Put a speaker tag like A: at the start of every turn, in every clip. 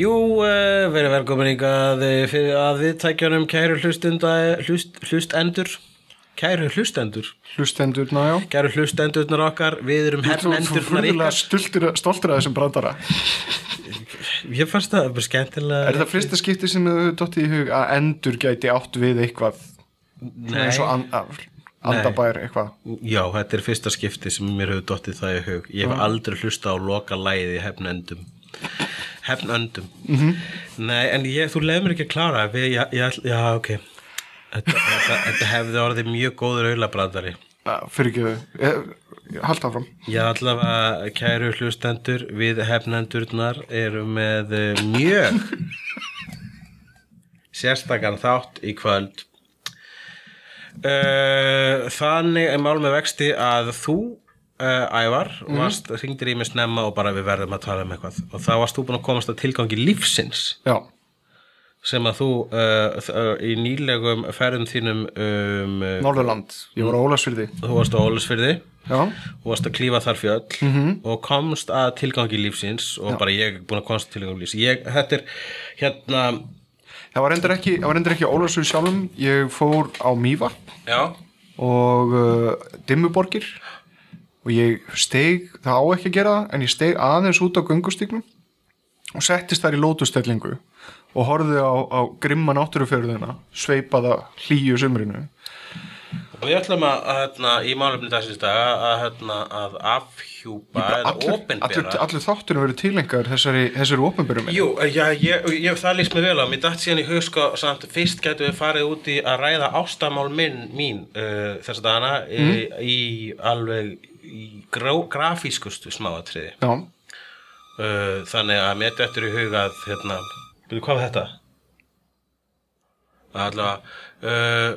A: Jú, uh, verið velkomin yngað fyrir að við tækjanum kæru hlustenda, eh, hlust, hlustendur kæru hlustendur
B: hlustendur, nájá
A: kæru hlustendurnar okkar, við erum hernendurnar
B: Þú
A: ykkar
B: stultur, stoltur að þessum brandara
A: Ég fannst það bara skemmtilega
B: Er það fyrsta skipti sem þú dotti í hug að endur gæti átt við eitthvað
A: Nei,
B: eins og an, af- andabær eitthvað
A: Já, þetta er fyrsta skipti sem mér hefur dottið það í hug Ég hef aldrei hlusta á loka lægið í hefnendum Hefnöndum
B: Mhm.
A: Nei, en ég, þú leið mér ekki að klára við, já, já, já, ok Þetta, þetta, þetta hefði orðið mjög góður auðlabrandari
B: Fyrir ekki, haldt E, áfram
A: Já, allavega, kæru hlustendur, við hefnendurnar erum með eh, mjög sérstakann þátt í kvöld. Eh, Þannig er mál með vexti að þú, eh, Ævar, varst, hringdir í mig snemma og bara við verðum að tala um eitthvað. Og þá varst þú búin að komast að tilgangi lífsins
B: Já,
A: sem að þú uh, uh, í nýlegum ferðum þínum, um, uh,
B: Norðurland, ég var á Ólasfyrði
A: þú varst á Ólusfyrði
B: Já,
A: og varst að klífa þar fjöll og komst að tilgangi lífsins og bara ég er búin að komast að tilgangi lífsins ég, þetta er hérna
B: það var endur ekki, það var endur ekki á Ólasfyrði sjálfum Ég fór á Mýva
A: já,
B: og uh, Dimmuborgir og ég steg, það á ekki að gera það en ég steg aðeins út á göngustíknum og settist þar í lótustellingu og horfði á, á grimma náttúrufjörðina sveipaða hlýju sumrinu
A: og við ætlum að, að hérna, í málefni dagsins daga að, hérna, að afhjúpa eða
B: allur, allur,
A: opinbera
B: allur þátturinn verið tilengar þessari, þessari opinberum
A: Jú, já, ég, ég, það líst mér vel á, mér dætt síðan í hug sko, samt fyrst gætu við farið út í að ræða ástamál minn, mín uh, þess að dana í, í alveg í grá, grafískustu smáatriði
B: Já,
A: Uh, þannig að mér dettur í hug að hérna, byrju hvað var þetta? Allavega uh,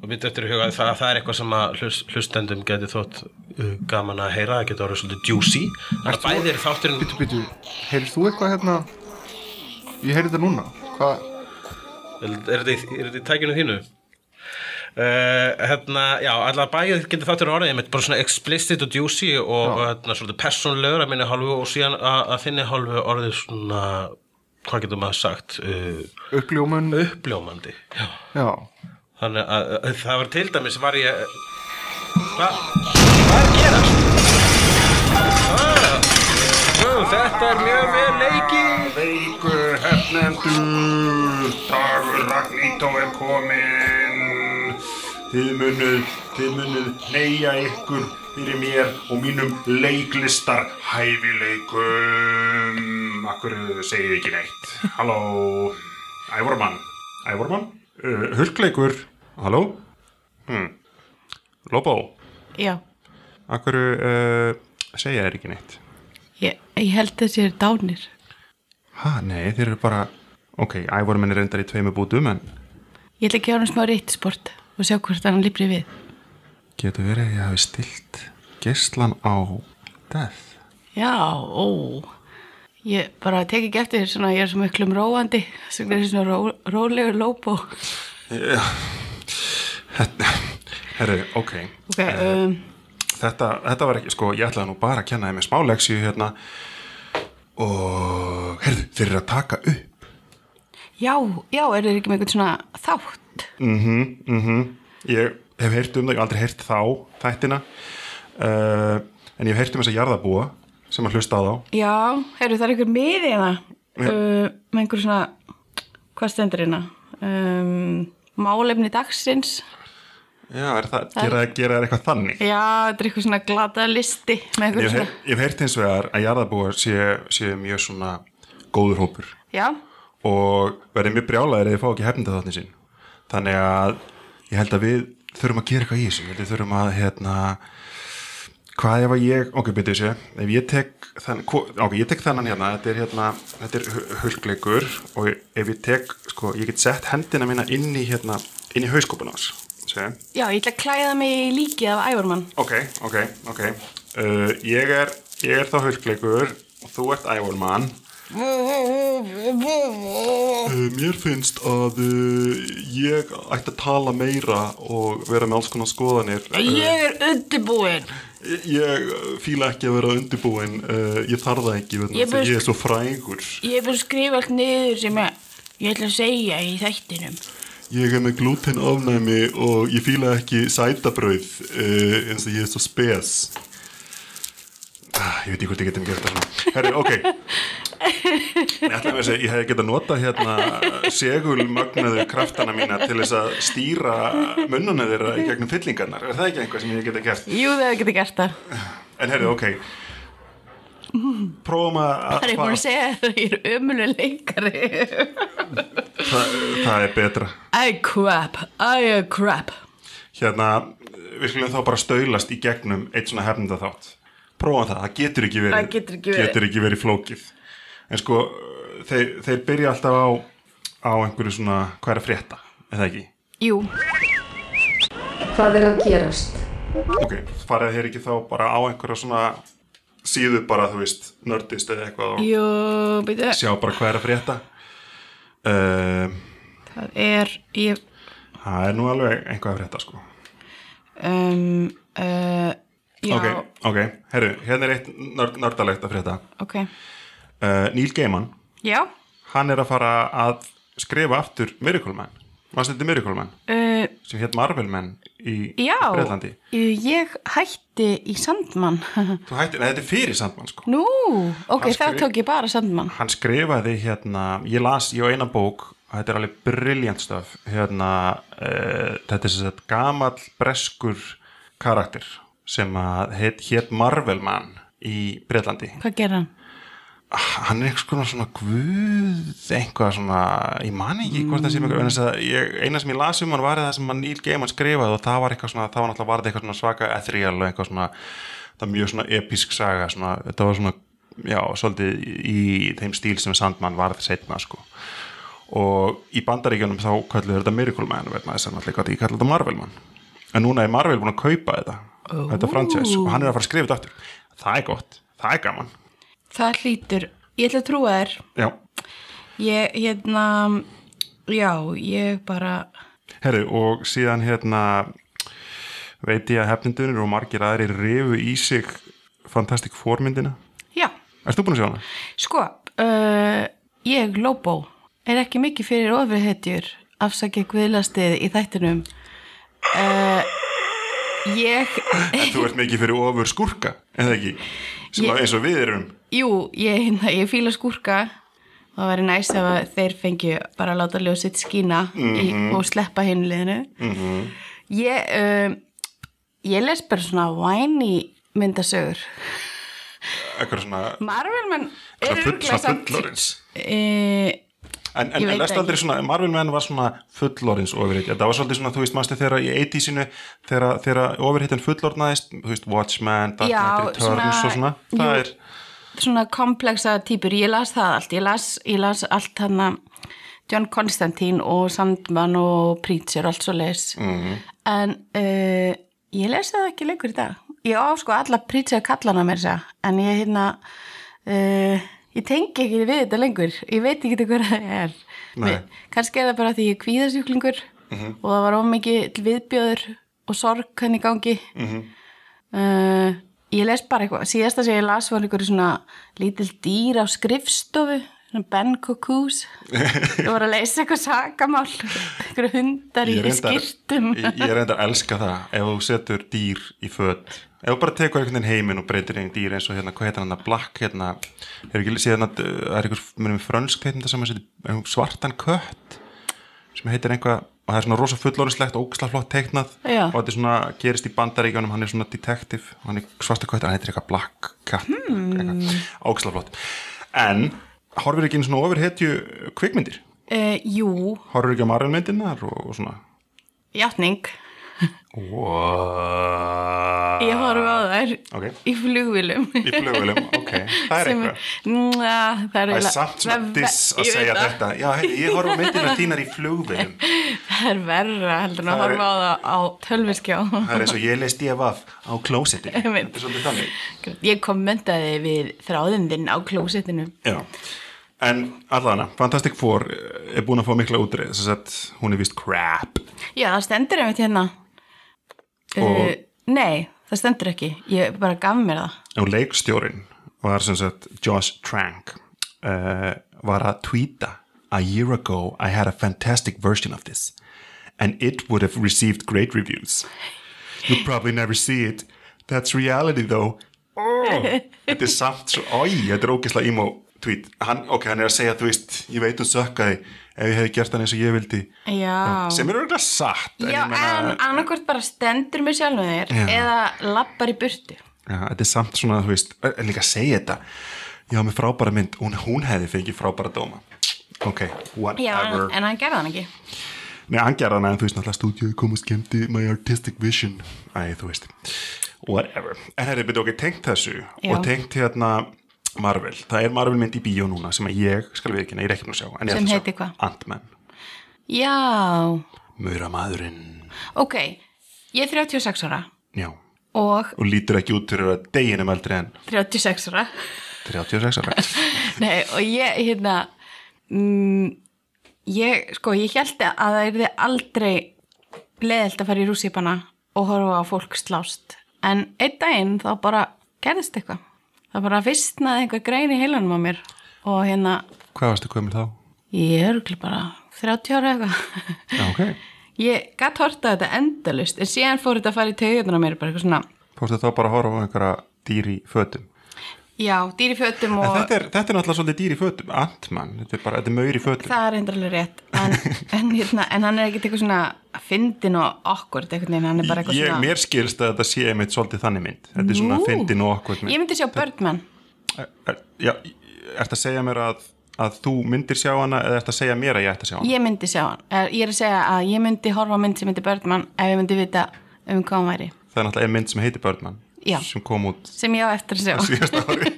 A: og mér dettur í hug að það, það er eitthvað sem að hlust, hlustendum geti þótt uh, gaman að heyra, það getur orðið svolítið juicy þannig að bæði er þátturinn
B: býtu, býtu, heyrðu þú eitthvað hérna ég heyrði það núna hvað,
A: er þetta í- er þetta í tækinu þínu? Uh, hérna, já, allavega bæðið getur þátturinn orðið einmitt bara svona explicit og juicy og, og hérna, svolítið persónlegur að minni hálfu og síðan að, að þinni hálfu orðið svona hvað getur maður sagt uh,
B: uppljómun
A: uppljómandi já.
B: Já,
A: þannig að, að það var til dæmis var ég Hva? hvað er að gerast? Ah, jú, þetta er mjög vel leiki
C: Veikur hefnendur, dagur Ragnító er kominn. Þið munuð, þið munuð neyja ykkur fyrir mér og mínum leiklistar hæfileikum. Akkur segið ekki neitt. Halló, Ævormann, Ævormann? Uh, Hulkleikur, halló? Hmm. Lobó,
D: Já,
C: akkur uh, segja þér ekki neitt.
D: ég, ég held þessi er dánir.
C: Hæ, nei, þeir eru bara Ok, ævoru minn er reyndar í tveimu bútum en
D: Ég ætla að gefa hann smá reytisport og sjá hvort hann lífri við.
C: getur verið að ég hafi stilt geslan á death
D: Já, ó. Ég bara tek ekki eftir svona, ég er svo miklum róandi, sem er svona ró, rólegur lóp og...
C: Herru, ok,
D: Ok, um,
C: þetta, þetta var ekki, sko, ég ætlaði nú bara að kenna þeim með smáleksju hérna og, herðu, þeir eru að taka upp
D: já, já, er þeir ekki með einhvern svona þátt?
C: Mhm. Ég hef heyrt um það, ég hef aldrei heyrt þá þættina uh, en ég hef heyrt um þess að jarðabúa sem að hlusta á þá
D: Já, heyrðu, það er einhver miði hérna, uh, með einhver svona, hvað stendur hérna? Um, málefni dagsins,
C: Já, er það, gera, gera þær eitthvað þannig?
D: Já, þetta er eitthvað svona glata listi með
C: Ég
D: einhverju
C: hef,
D: svona.
C: heyrt- ég hef heyrt hins vegar að jarðabúar sé, sé mjög svona góður hópur
D: Já,
C: og verði mjög brjálæðir eða þið fá ekki hefnda þáttin sín þannig að ég held að við þurfum að gera eitthvað í þessu Ég held við þurfum að hérna hvað ef að ég, ok, byrju þessu ef ég tek, þann, hvo- ok, ég tek þannan hérna þetta er hérna, þetta er hu- hulkleikur og ef ég tek, sko, ég get sett hendina mína inn í hérna inn í hauskópun ás, séu
D: já, ég ætla að klæða mig í líkið af ævarmann.
C: Ok, ok, ok uh, ég, er, ég er þá hulkleikur og þú ert ævormann uh, Mér finnst að uh, ég ætti að tala meira og vera með alls konar skoðanir uh,
D: Ég er undirbúinn.
C: Ég uh, fíla ekki að vera undirbúin uh, ég þarf það ekki, veit,
D: Ég
C: ég,
D: bauðst-
C: ég er svo frægur
D: Ég er búin að skrifa allt niður sem að ég ætla að segja í þættinum.
C: Ég er með glúten ofnæmi og ég fíla ekki sætabrauð uh, eins og ég er svo spes ah, Ég veit ekki hvort ég getum gert það svona Herri, ok Ég ætla með þess að ég hef getað nota hérna segulmagnaðu kraftana mína til þess að stýra munnuna þeirra í gegnum fyllingarnar Er það ekki einhvað sem ég geta gert?
D: Jú, það getur gert það.
C: En herri, ok Prófum að
D: Það er ég búin að segja það, ég er ömuleg leikari.
C: það, það er betra
D: I crap, I a crap.
C: hérna, við skulum þá bara stöylast í gegnum eitt svona hefnda þátt prófa það, það getur ekki verið
D: Það getur ekki verið.
C: getur ekki verið flókið en sko, þeir, þeir byrja alltaf á á einhverju svona, hvað er að frétta eða ekki,
D: Jú,
E: Hvað er að gerast?
C: ok, farið þeir ekki þá bara á einhverja svona síðu bara, þú veist, nördist eða eitthvað og
D: jú, byrju,
C: sjá bara hvað er að frétta um,
D: það er, ég,
C: það er nú alveg einhvað að frétta sko
D: um, uh, já,
C: ok, ok, herru, hérna er eitt nörd, nördalegt að frétta
D: ok,
C: uh, Neil Gaiman
D: já,
C: hann er að fara að skrifa aftur Miracle Man Varstu þetta Miracle Man?
D: uh,
C: Sem hétt Marvel Man í
D: já,
C: Breitlandi
D: ég hætti í Sandmann,
C: Þú hætti, nei þetta er fyrir Sandman sko
D: nú, ok,
C: Hann
D: þá
C: skri-
D: tók ég bara Sandmann,
C: Hann skrifaði hérna, ég las, ég á eina bók og þetta er alveg brilljant stöf hérna, uh, þetta er sem sagt gamall breskur karakter sem að hétt hét Marvel Man í Breitlandi
D: hvað gerði hann?
C: hann er einhvers konar svona guð eitthvað svona, ég man ekki hvort það sé mjög, en þess að ég, eina sem ég las um hann var það sem hann Neil Gaiman skrifaði og það var eitthvað svona, það var náttúrulega varðið eitthvað svona svaka ethereal og eitthvað svona, það var mjög svona episk saga, svona, þetta var svona já, svolítið í þeim stíl sem Sandman varð setna, sko og í bandaríkjunum þá kalluðu þetta Miracle Man, vegna þess að náttúrulega gátt ekki kallað þetta Marvel Man, en núna er Marvel búin að kaupa þetta, þetta franchise og hann er að fara að skrifa þetta aftur, það er gott það er gaman,
D: Það hlýtur, ég ætla að trúa þér,
C: já
D: ég, hérna, já, ég bara,
C: Herru, og síðan hérna veit ég að hefnindunir og margir aðrir rifu í sig Fantastic Four myndina.
D: já,
C: Erst þú búin að sjá hana?
D: Sko, uh, ég, Lobo, er ekki mikið fyrir ofriðhetjur, afsakið guðlastið í þættinum. Uh, ég,
C: En þú ert mikið fyrir ofur skurka, eða ekki? Sem
D: Ég-
C: að eins og við erum.
D: jú, ég, hérna, ég fíla skúrka og það væri næst ef að þeir fengju bara að láta ljósið skína í, og sleppa hinliðinu. Mm Ég, um, ég les bara svona væni myndasögur.
C: Eitthvað svona,
D: Marvel menn er
C: svona, full, svona fullorins.
D: E,
C: En, en,
D: Ég
C: en
D: veit
C: lestu
D: ekki.
C: aldrei svona, Marvel menn var svona fullorins ofurhitt, þetta var svolítið svona, þú veist, mannstu þegar í 80-sinu, þegar, þegar ofurhittin fullornaðist, þú veist, Watchmen, Dark
D: Já,
C: Knight Returns
D: svona-
C: og svona, það
D: jú.
C: er,
D: svona kompleksa týpur, ég las það allt, ég las, ég las allt hann að John Constantine og Sandman og Preacher og allt svo leis
C: Mhm.
D: en uh, ég lesi það ekki lengur í dag ég á sko alla Preacher kallana mér segja, en ég hérna uh, ég tengi ekki við þetta lengur ég veit ekki hvað það er
C: Nei. Mhm.
D: Mér- kannski er það bara því ég er kvíðasjúklingur og það var ómikið viðbjöður og sorg hann í gangi Uh, ég les bara eitthvað, síðasta sem ég las var einhverju svona lítil dýr á skrifstofu, svona Ben Cuckoos ég voru að leysa eitthvað sakamál, einhverju hundar í
C: Ég reyndar-
D: skýrtum
C: ég ég reyndar að elska það ef þú setur dýr í föt ef þú bara tekur einhvern veginn heiminn og breytir einn dýr eins og hérna, hvað heitir hann að blakk hérna, er ekki hérna, síðan að uh, það er einhver mér er með frönsk heitin það sem að setja einhver svartan kött sem heitir einhvað og það er svona rosa fullorðislegt ógisla flott teiknað
D: Já.
C: og þetta er svona gerist í bandaríkjónum hann er svona detective, hann er svarta kvættur hann heitir eitthvað black cat hmm. ógisla flott en horfir ekki einu svona ofur hetju kvikmyndir
D: Uh, jú,
C: horfir ekki á marjunmyndinar og, og svona
D: játning.
C: wow.
D: Ég horfa á þær
C: ok,
D: í flugvilum.
C: í flugulum, ok það er
D: Sem-
C: eitthvað
D: Nja, það er
C: Það er
D: eiginlega-
C: samt svona
D: það-
C: diss að
D: ég veit
C: segja
D: það.
C: þetta Já, hey, ég horf á myndina þínar í flugvegum
D: Það er verra heldur en að
C: Það er-
D: horfa á það á tölviskjá.
C: Það er eins og ég leist ég af á klósetti Þetta
D: Einmitt.
C: er svolítið þannig
D: Ég kommentaði við þráðinn þinn á klósettinu.
C: Já. En allavega, Fantastic Four eh, er búin að fá mikla útrið þess að hún er vist crap
D: Já, það stendur einmitt hérna.
C: Og-
D: Uh, nei, það stendur ekki. Ég bara gaf mér það.
C: og leikstjórin var sem sagt Josh Trank uh, var að tweeta A year ago I had a fantastic version of this and it would have received great reviews You probably never see it That's reality though oh. Þetta er samt svo Æ, þetta er ógislega emo tweet hann, Ok, hann er að segja, þú veist, ég veit um sökkaði ef ég hefði gert hann eins og ég vildi
D: Já.
C: sem er auðvitað satt
D: Já,
C: ég meina-
D: en annarkvort bara stendur með sjálfum þér
C: Já.
D: eða lappar í burtu.
C: Já, þetta er samt svona, þú veist, en líka að segja þetta Já, með frábæra mynd, hún, hún hefði fengið frábæra dóma Ok,
D: Já,
C: whatever
D: en, en hann gerði hann ekki.
C: Nei, hann gerði hana, en þú veist, náttúrulega stúdíuði kom og skemmti My Artistic Vision Æ, þú veist, whatever En herri, byrja okkur tengt þessu
D: Já.
C: og tengt hérna Marvel Það er Marvel mynd í bíó núna sem að ég, skal við ekki, ég er ekki búin að sjá en ég ætla
D: Sem
C: að sjá.
D: heitir hvað?
C: Ant-Man,
D: Já,
C: Muramadurinn
D: ok. Ég er 36 ára
C: Já,
D: og
C: og lítur ekki út fyrir að deginum eldri en
D: 36 ára.
C: 36 ára
D: Nei, og ég, hérna, mm, ég, sko, ég held að það erði aldrei leðilt að fara í rússipana og horfa á fólk slást. En einn daginn þá bara gerðist eitthvað. Það bara vissnaði einhver grein í heilanum á mér og hérna,
C: Hvað varstu komið þá?
D: ég er örugglega bara 30 ára eitthvað.
C: Já, ok
D: Ég gatt horta þetta endalust, en síðan fór þetta að fara í taugjönduna mér, bara eitthvað svona,
C: Fórstu þá bara að horfa á einhverja dýr í fötum
D: já, dýri fötum
C: En
D: og
C: þetta er, þetta er náttúrulega svolítið dýr í fötum Antmann, þetta er bara, þetta er maur í fötum
D: það er reyndar alveg rétt, en, en, hérna, en hann er ekkert eitthvað svona fyndin og okkur, einhvern veginn, hann er bara eitthvað
C: Ég,
D: svona,
C: mér skilst að þetta sé einmitt svolítið þannig mynd Þetta er svona
D: Nú.
C: fyndin og okkur
D: ég myndi sjá Birdman,
C: er, Já, ertu að segja mér að, að þú myndir sjá hana eða ertu að segja mér að ég ætti að sjá hana?
D: ég myndi sjá hann, Eh, ég er að segja að ég myndi horfa á mynd sem myndi Birdman ef ég myndi vita um hvað hann væri,
C: Það er náttúrulega ein mynd sem heitir Birdman
D: Já.
C: sem kom út
D: sem ég á eftir að sjá.
C: síðast ári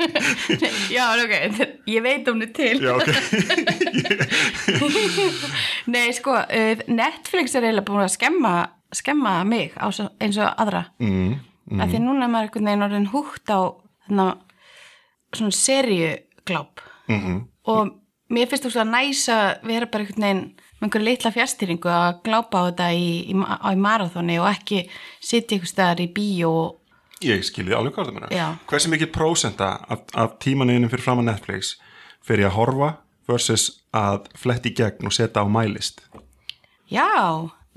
D: já, ok, þetta- ég veit um þetta til.
C: Já, ok
D: Nei, sko, eh, Netflix er eiginlega búin að skemma, skemma mig á, svo- eins og aðra.
C: mm,
D: mm. því núna er maður einhvern veginn orðin húgt á þarna, svona serjugláp
C: mm,
D: og mér finnst þú svo næs að vera bara einhvern veginn með einhverju litla fjárstýringu að glápa á þetta í, í, ma- á í marathoni og ekki sitja einhvers staðar í bíó og
C: Ég skilji alveg hvað það meina
D: Já.
C: Hversu mikið prósenta af, af tímanuðinum fyrir fram að Netflix fyrir að horfa versus að fletti í gegn og setja á mælist
D: já,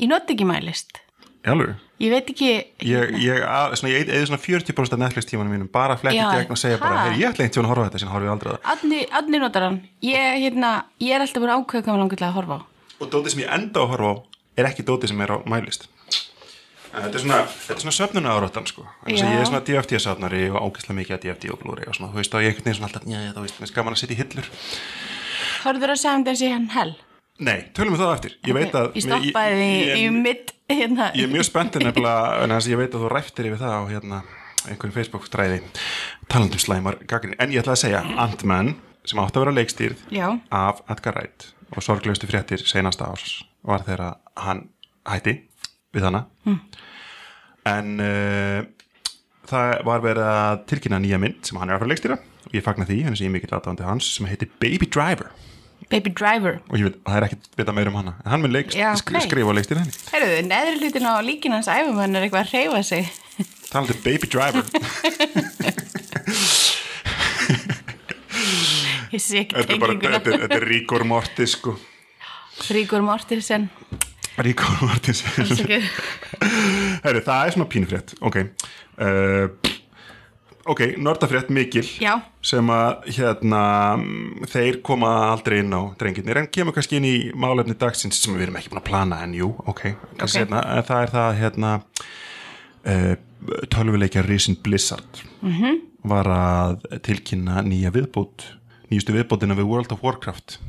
D: ég noti ekki mælist.
C: Jálfur
D: Ég veit ekki,
C: Ég, ég, að, svona, ég eði svona 40% af Netflix tímanum mínum bara að fletti í
D: Já,
C: gegn og segja bara
D: ha?
C: hey, ég ætla einhvern tímann að horfa á þetta sem horfi ég aldrei að
D: Árni Árni notar hann. Ég, hérna, ég er alltaf búin að ákveða hvað maður langar til að horfa á.
C: það og dótið sem ég enda á að horfa á er ekki dótið sem er á mælist En þetta er svona, þetta er svona söfnuna áróttan sko Þannig að
D: Já.
C: ég er svona DFT safnari og ágæslega mikið að DFT og Blu-ray og svona, þú veist, þá ég einhvern veginn svona alltaf, já, já, þú veist, mér finnst gaman að setja í hillur
D: Horður að segja um þessi hann hell.
C: Nei, tölum við það á eftir, ég veit að
D: Ég stoppaði því
C: ég-
D: í,
C: ég-
D: í mitt, hérna.
C: Ég er mjög spenntið nefnilega en þess að ég veit að þú ræftir yfir það á hérna, einhverjum Facebook-stræði talandum slæmar gagnir. En ég ætla að segja Ant-Man sem átti að vera leikstýrð
D: Já.
C: af Edgar Wright og sorglegustu fréttir seinasta árs var þegar að hann hætti við hana.
D: Hm.
C: En uh, það var verið að tilkynna nýja mynd sem hann er að fara að leikstýra og ég fagna því, henni sem ég er mikill aðdáðandi hans sem heitir Baby Driver
D: Baby Driver.
C: og ég veit, það er ekkert vita meira um hana en hann mun leikst,
D: Já,
C: sk
D: ok.
C: skrifa og leikstýra henni.
D: Herruðu, neðri hlutin á líkin hans æfumann er eitthvað að reyfa sig.
C: talandi um Baby Driver
D: Ég sé ekki
C: þetta er bara,
D: tenginguna.
C: þetta, er- þetta er Ríkor Mortis sko
D: Ríkur Mortensen.
C: Ríkor Mortis
D: Afsakið.
C: Heru, það er svona pínfrétt ok uh, ok, nördafrétt mikil
D: Já.
C: sem að hérna mm, þeir koma aldrei inn á drengirnir en kemur kannski inn í málefni dagsins sem við erum ekki búin að plana en jú, ok, okay. Hérna, en það er það hérna uh, tölvuleikja Risen Blizzard -hmm. var að tilkynna nýja viðbót nýjustu viðbótina við World of Warcraft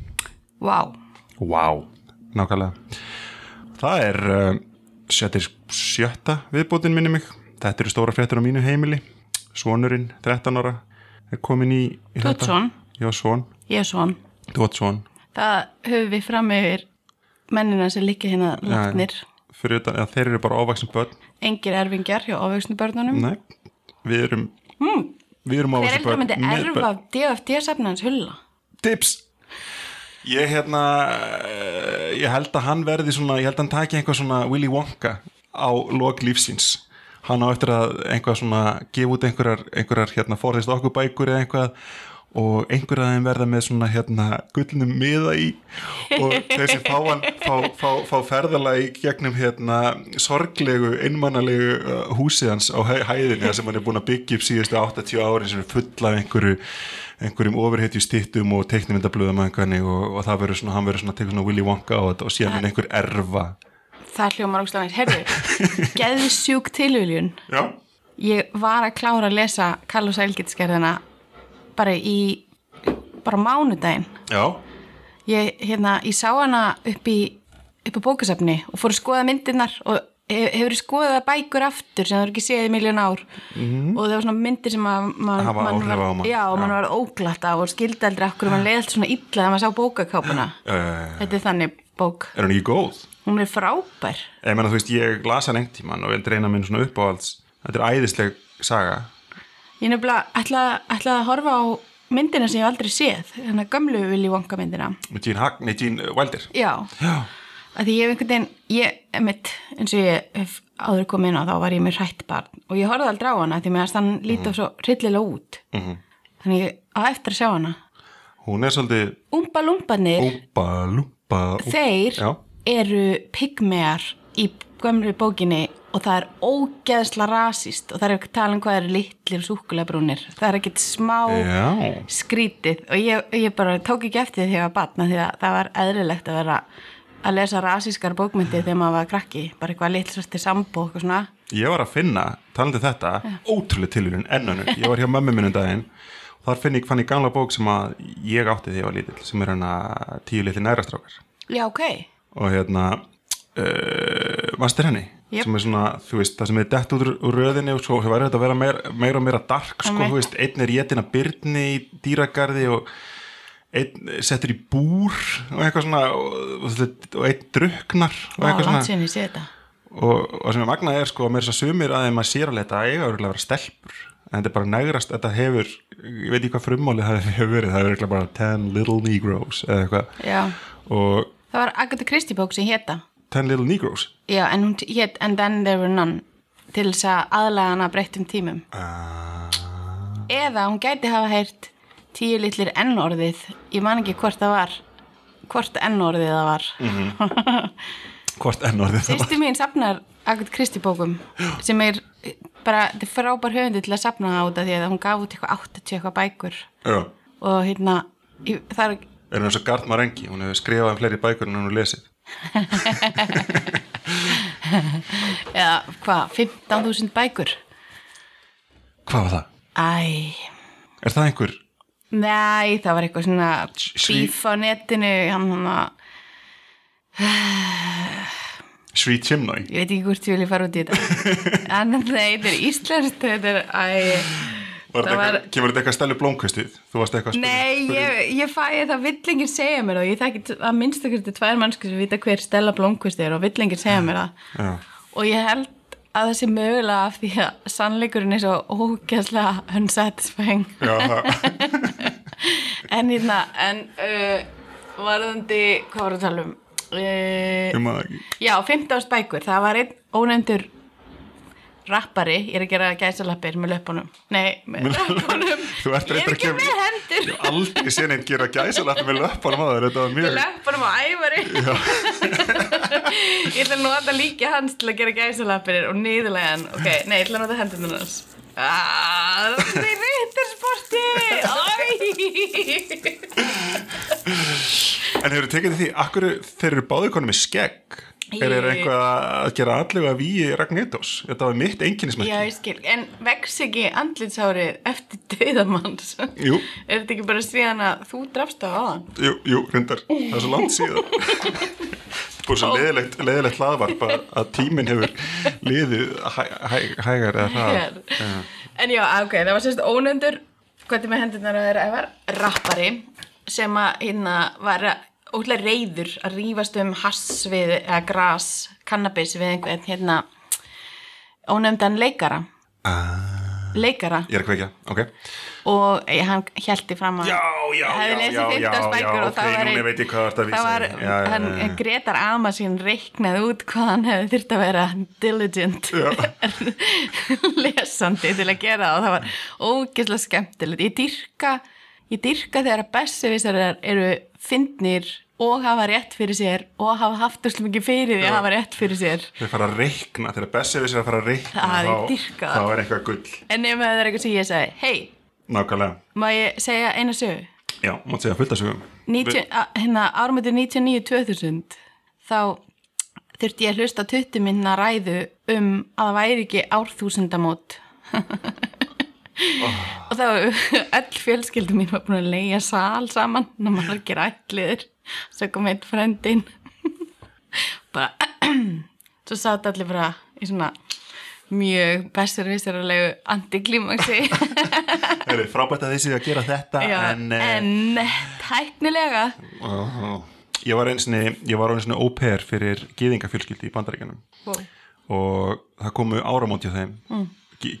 D: Vá,
C: Wow. Nákvæmlega. Það er uh, sjöttir sjötta viðbótin minni mig. Þetta eru stóra fréttur á mínu heimili. Svonurinn, 13 ára, er komin í... í
D: Þú átt
C: þetta.
D: son?
C: Já, svon.
D: ég er svon.
C: Þú átt svon.
D: Það höfum við fram yfir mennina sem líka hérna látnir.
C: Fyrir utan, eða þeir eru bara ávaksum börn.
D: Engir erfingjar hjá ofvöksnu börnunum.
C: Nei, við erum... Við erum
D: Hmm. Hver
C: ávaksum
D: eldra
C: börn.
D: myndi
C: með börn.
D: erfa DFD-safnans hulla?
C: Tips! Ég hérna, eh, ég held að hann verði svona, ég held að hann taki einhvað svona Willy Wonka á lok lífsins. Hann á eftir að einhvað svona gefa út einhverjar, einhverjar hérna forðist okkur bækur eða einhvað og einhverjar að þeim verða með svona hérna gullnum miða í og þessi fáan fá, fá, fá ferðalagi gegnum hérna sorglegu, einmannalegu uh, húsið hans á hæ- hæðinni þar sem hann er búin að byggja upp síðustu 80 árin sem er full af einhverju einhverjum ofurhetju stýttum og teiknumyndablöðamængani og, og það verður svona, hann verður svona tekur svona Willy Wonka á þetta og síðan minn einhver erfa
D: Það hljómar ógstlega næst. Herðu, geðsjúk tilhjuljun.
C: Já,
D: Ég var að klára að lesa Kallus Elgitskerðina bara í, bara á mánudaginn.
C: já,
D: Ég, hérna, ég sá hana upp í, upp í bókasafni og fór að skoða myndirnar og hef- hefur skoðað bækur aftur sem það er ekki séð í miljón ár og það var svona myndir sem að man,
C: Mhm. Hafa
D: man
C: áhrif
D: var,
C: á mann.
D: já, og mann
C: Já.
D: var óglatt af og skildeldri akkur og mann leiði allt svona illa þegar maður sá bókakápuna þetta er þannig bók
C: Eh, er hann ekki góð?
D: hún er frábær
C: Ég meina þú veist, ég las hann einhvern tíman og vildi reyna minn svona uppáhalds Þetta er æðisleg saga
D: Ég nefnilega ætlaði ætla að horfa á myndina sem ég hef aldrei séð, þannig að gömlu vilji vanga myndina.
C: með Gene, Hack, nei, Gene uh, Wilder
D: Já,
C: Já,
D: að því ég hef einhvern veginn, ég, mitt, eins og ég hef áður komið inn á þá var ég með hrætt barn og ég horfði aldrei á hana því meðan hann lítið svo hryllilega út. -hmm. Þannig ég á eftir að sjá hana.
C: hún er svolítið
D: Umba lumbanir,
C: Úmba, lúmba úmpa.
D: þeir
C: Já,
D: eru pygmear í gömlu bókinni og það er ógeðsla rasist og það er ekki tala um hvað eru litlir súkulebrúnir. Það er ekkit smá
C: já
D: skrítið og ég, ég bara tók ekki eftir því að ég var batna því að það var eðlilegt að vera að lesa rasískar bókmyndir þegar maður var krakki bara eitthvað litl svolítið sambó og svona
C: Ég var að finna, talandi um þetta ótrúlega tilvíðun, ennönu Ég var hjá mömmu minn um daginn og þar finn ég fann ég gamla bók sem að ég átti þegar ég var lítill sem er hana tíu litli nærastrákar
D: Já, ok,
C: og hérna uh, Master henni
D: Jep.
C: sem er svona, þú veist, það sem er dett út úr úr röðinni og svo verður þetta að vera meir, meira og meira dark sko,
D: Einmitt.
C: þú veist, einn er jetin að byrni í dýragarði og einn settur í búr og eitthvað svona og, og þetta- og einn druknar og
D: Vá,
C: eitthvað svona
D: langt sér ég sé þetta
C: og, og sem er magnað er sko að mér þess að sumir aðeins maður sér alveg þetta eiga örugglega að vera stelpur en þetta er bara negrast, þetta hefur ég veit ekki hvað frummáli það hefur verið það hefur örugglega bara 10 little negroes eða eitthvað
D: Já,
C: og
D: það var Agatha Christie bók sem hétta
C: 10 little negroes
D: Já, en hún hétt And Then There Were None til þess að aðlaga hana að breyttum tímum
C: Ah.
D: Eða hún gæti hafa heyrt tíu litlir ennorðið ég man ekki hvort það var hvort ennorðið það var
C: hvort enn orðið það var
D: Sýsti mín safnar Agat Kristi bókum sem er bara, þetta er frábær höfundi til að safna það út af því að hún gaf út eitthvað 80 eitthvað bækur
C: Já,
D: og hérna, ég- það er
C: er hún eins og Gardmar Engi hún hefur skrifað um fleiri bækur en hún hefur lesið
D: eða hvað, 15.000 bækur
C: hvað var það?
D: Æ,
C: Er það einhver?
D: nei, það var eitthvað svona
C: Sri-
D: bíf á netinu hann, hann, hann,
C: Sri Chimnai
D: ég veit ekki hvort ég vilja fara út í þetta en nei, þetta er íslenskt þetta er, æ
C: var
D: Það
C: þetta
D: var-
C: var... kemur þetta eitthvað stælu blómkvistið þú varst eitthvað að spyrja-
D: Nei,
C: spyrja-
D: ég, ég fæ það vill enginn segja mér það, ég þekki t- að minnstu hverju tvær mannsku sem vita hver Stella Blomqvist er og vill enginn segja mér það
C: Já.
D: og ég held að það sé mögulega af því að sannleikurinn er svo ógæslega unsatisfying
C: Já, það-
D: en hérna, en uh, varðandi, hvað var að tala um? Uh,
C: ég maður ekki
D: já, 15 bækur, það var einn ónefndur rappari, ég er að gera gæsalappir með löpunum, nei, með löpunum
C: Þú ert
D: ég
C: reyndar
D: er ekki
C: að
D: með
C: kemur-
D: hendur
C: Ég hef aldrei séð neitt gera gæsalappi með löppunum aður, þetta var mjög
D: löpunum á ævari ég ætla að nota líka hans til að gera gæsalappir og niðurlega hann ok, nei, ég ætla að nota hendurinn hans ah, Alveg rittarsporti Æ
C: En hefur tekið eftir því, akkur þeir eru báðu konum með skegg Er þeir
D: Ég-
C: eitthvað að gera allega víi Ragnetos? Þetta var mitt
D: Já,
C: einkennismætti
D: ég skil, en vex ekki andlitsárið eftir döðamanns
C: Jú.
D: Er þetta ekki bara síðan að þú drafst á aðan?
C: Jú, jú, reyndar, það er svo langt síðan Búið svo leðilegt, leðilegt hlaðvarp að að tíminn hefur liðið hæ, hæ, hægar eða
D: hér
C: hraðar
D: En já, ah, ok, það var sérst ónöndur Hvernig með hendurnar að þeirra var rappari sem að hérna var ótrúlega reyður að rífast um hass við, eða gras, kannabis við einhvern hérna ónöndan leikara leikara
C: Ég er að kveikja, ok
D: og eh, hann hjælti fram að
C: Já, já,
D: hefði
C: já,
D: lesið
C: já,
D: 15
C: já,
D: spækur
C: já,
D: og það
C: ok,
D: var
C: núna
D: einn-
C: veit ég hvað þú ert að vísa
D: það var,
C: í. Já, já, já,
D: hann,
C: já.
D: Gretar Amasín reiknað út hvað hann hefði þurft að vera diligent lesandi til að gera það og það var ógeðslega skemmtilegt ég dyrka, ég dyrka þegar að bessevisarar eru fyndnir og hafa rétt fyrir sér og hafa haft þessum mikið fyrir því að hafa rétt fyrir sér
C: Þeir fara að reikna, þegar Bessi við sér að fara að reikna
D: Það er
C: þá-
D: dýrkað.
C: Þá er eitthvað gull,
D: en ef það er eitthvað sem ég segi hei,
C: nákvæmlega
D: má ég segja eina sögu?
C: Já, mátt segja fullt að sögum
D: 19, a, hérna, ármöndu 99-2000 þá þurfti ég að hlusta á 20 minna ræðu um að það væri ekki árþúsundamót og þá öll fjölskyldum mín var búin að leigja sal saman og margir ætliður svo kom einn frendin bara svo sátt allir bara í svona mjög bestur vissarulegu antiklimaxi
C: Heri, Frábært að þið séu að gera þetta
D: Já,
C: En, eh,
D: en tæknilega
C: Aha. Ég var einsinni, ég var einsinni óper fyrir gýðingafjölskyldi í bandaríkjanum
D: Wow.
C: og það komu áramóti á þeim, mm.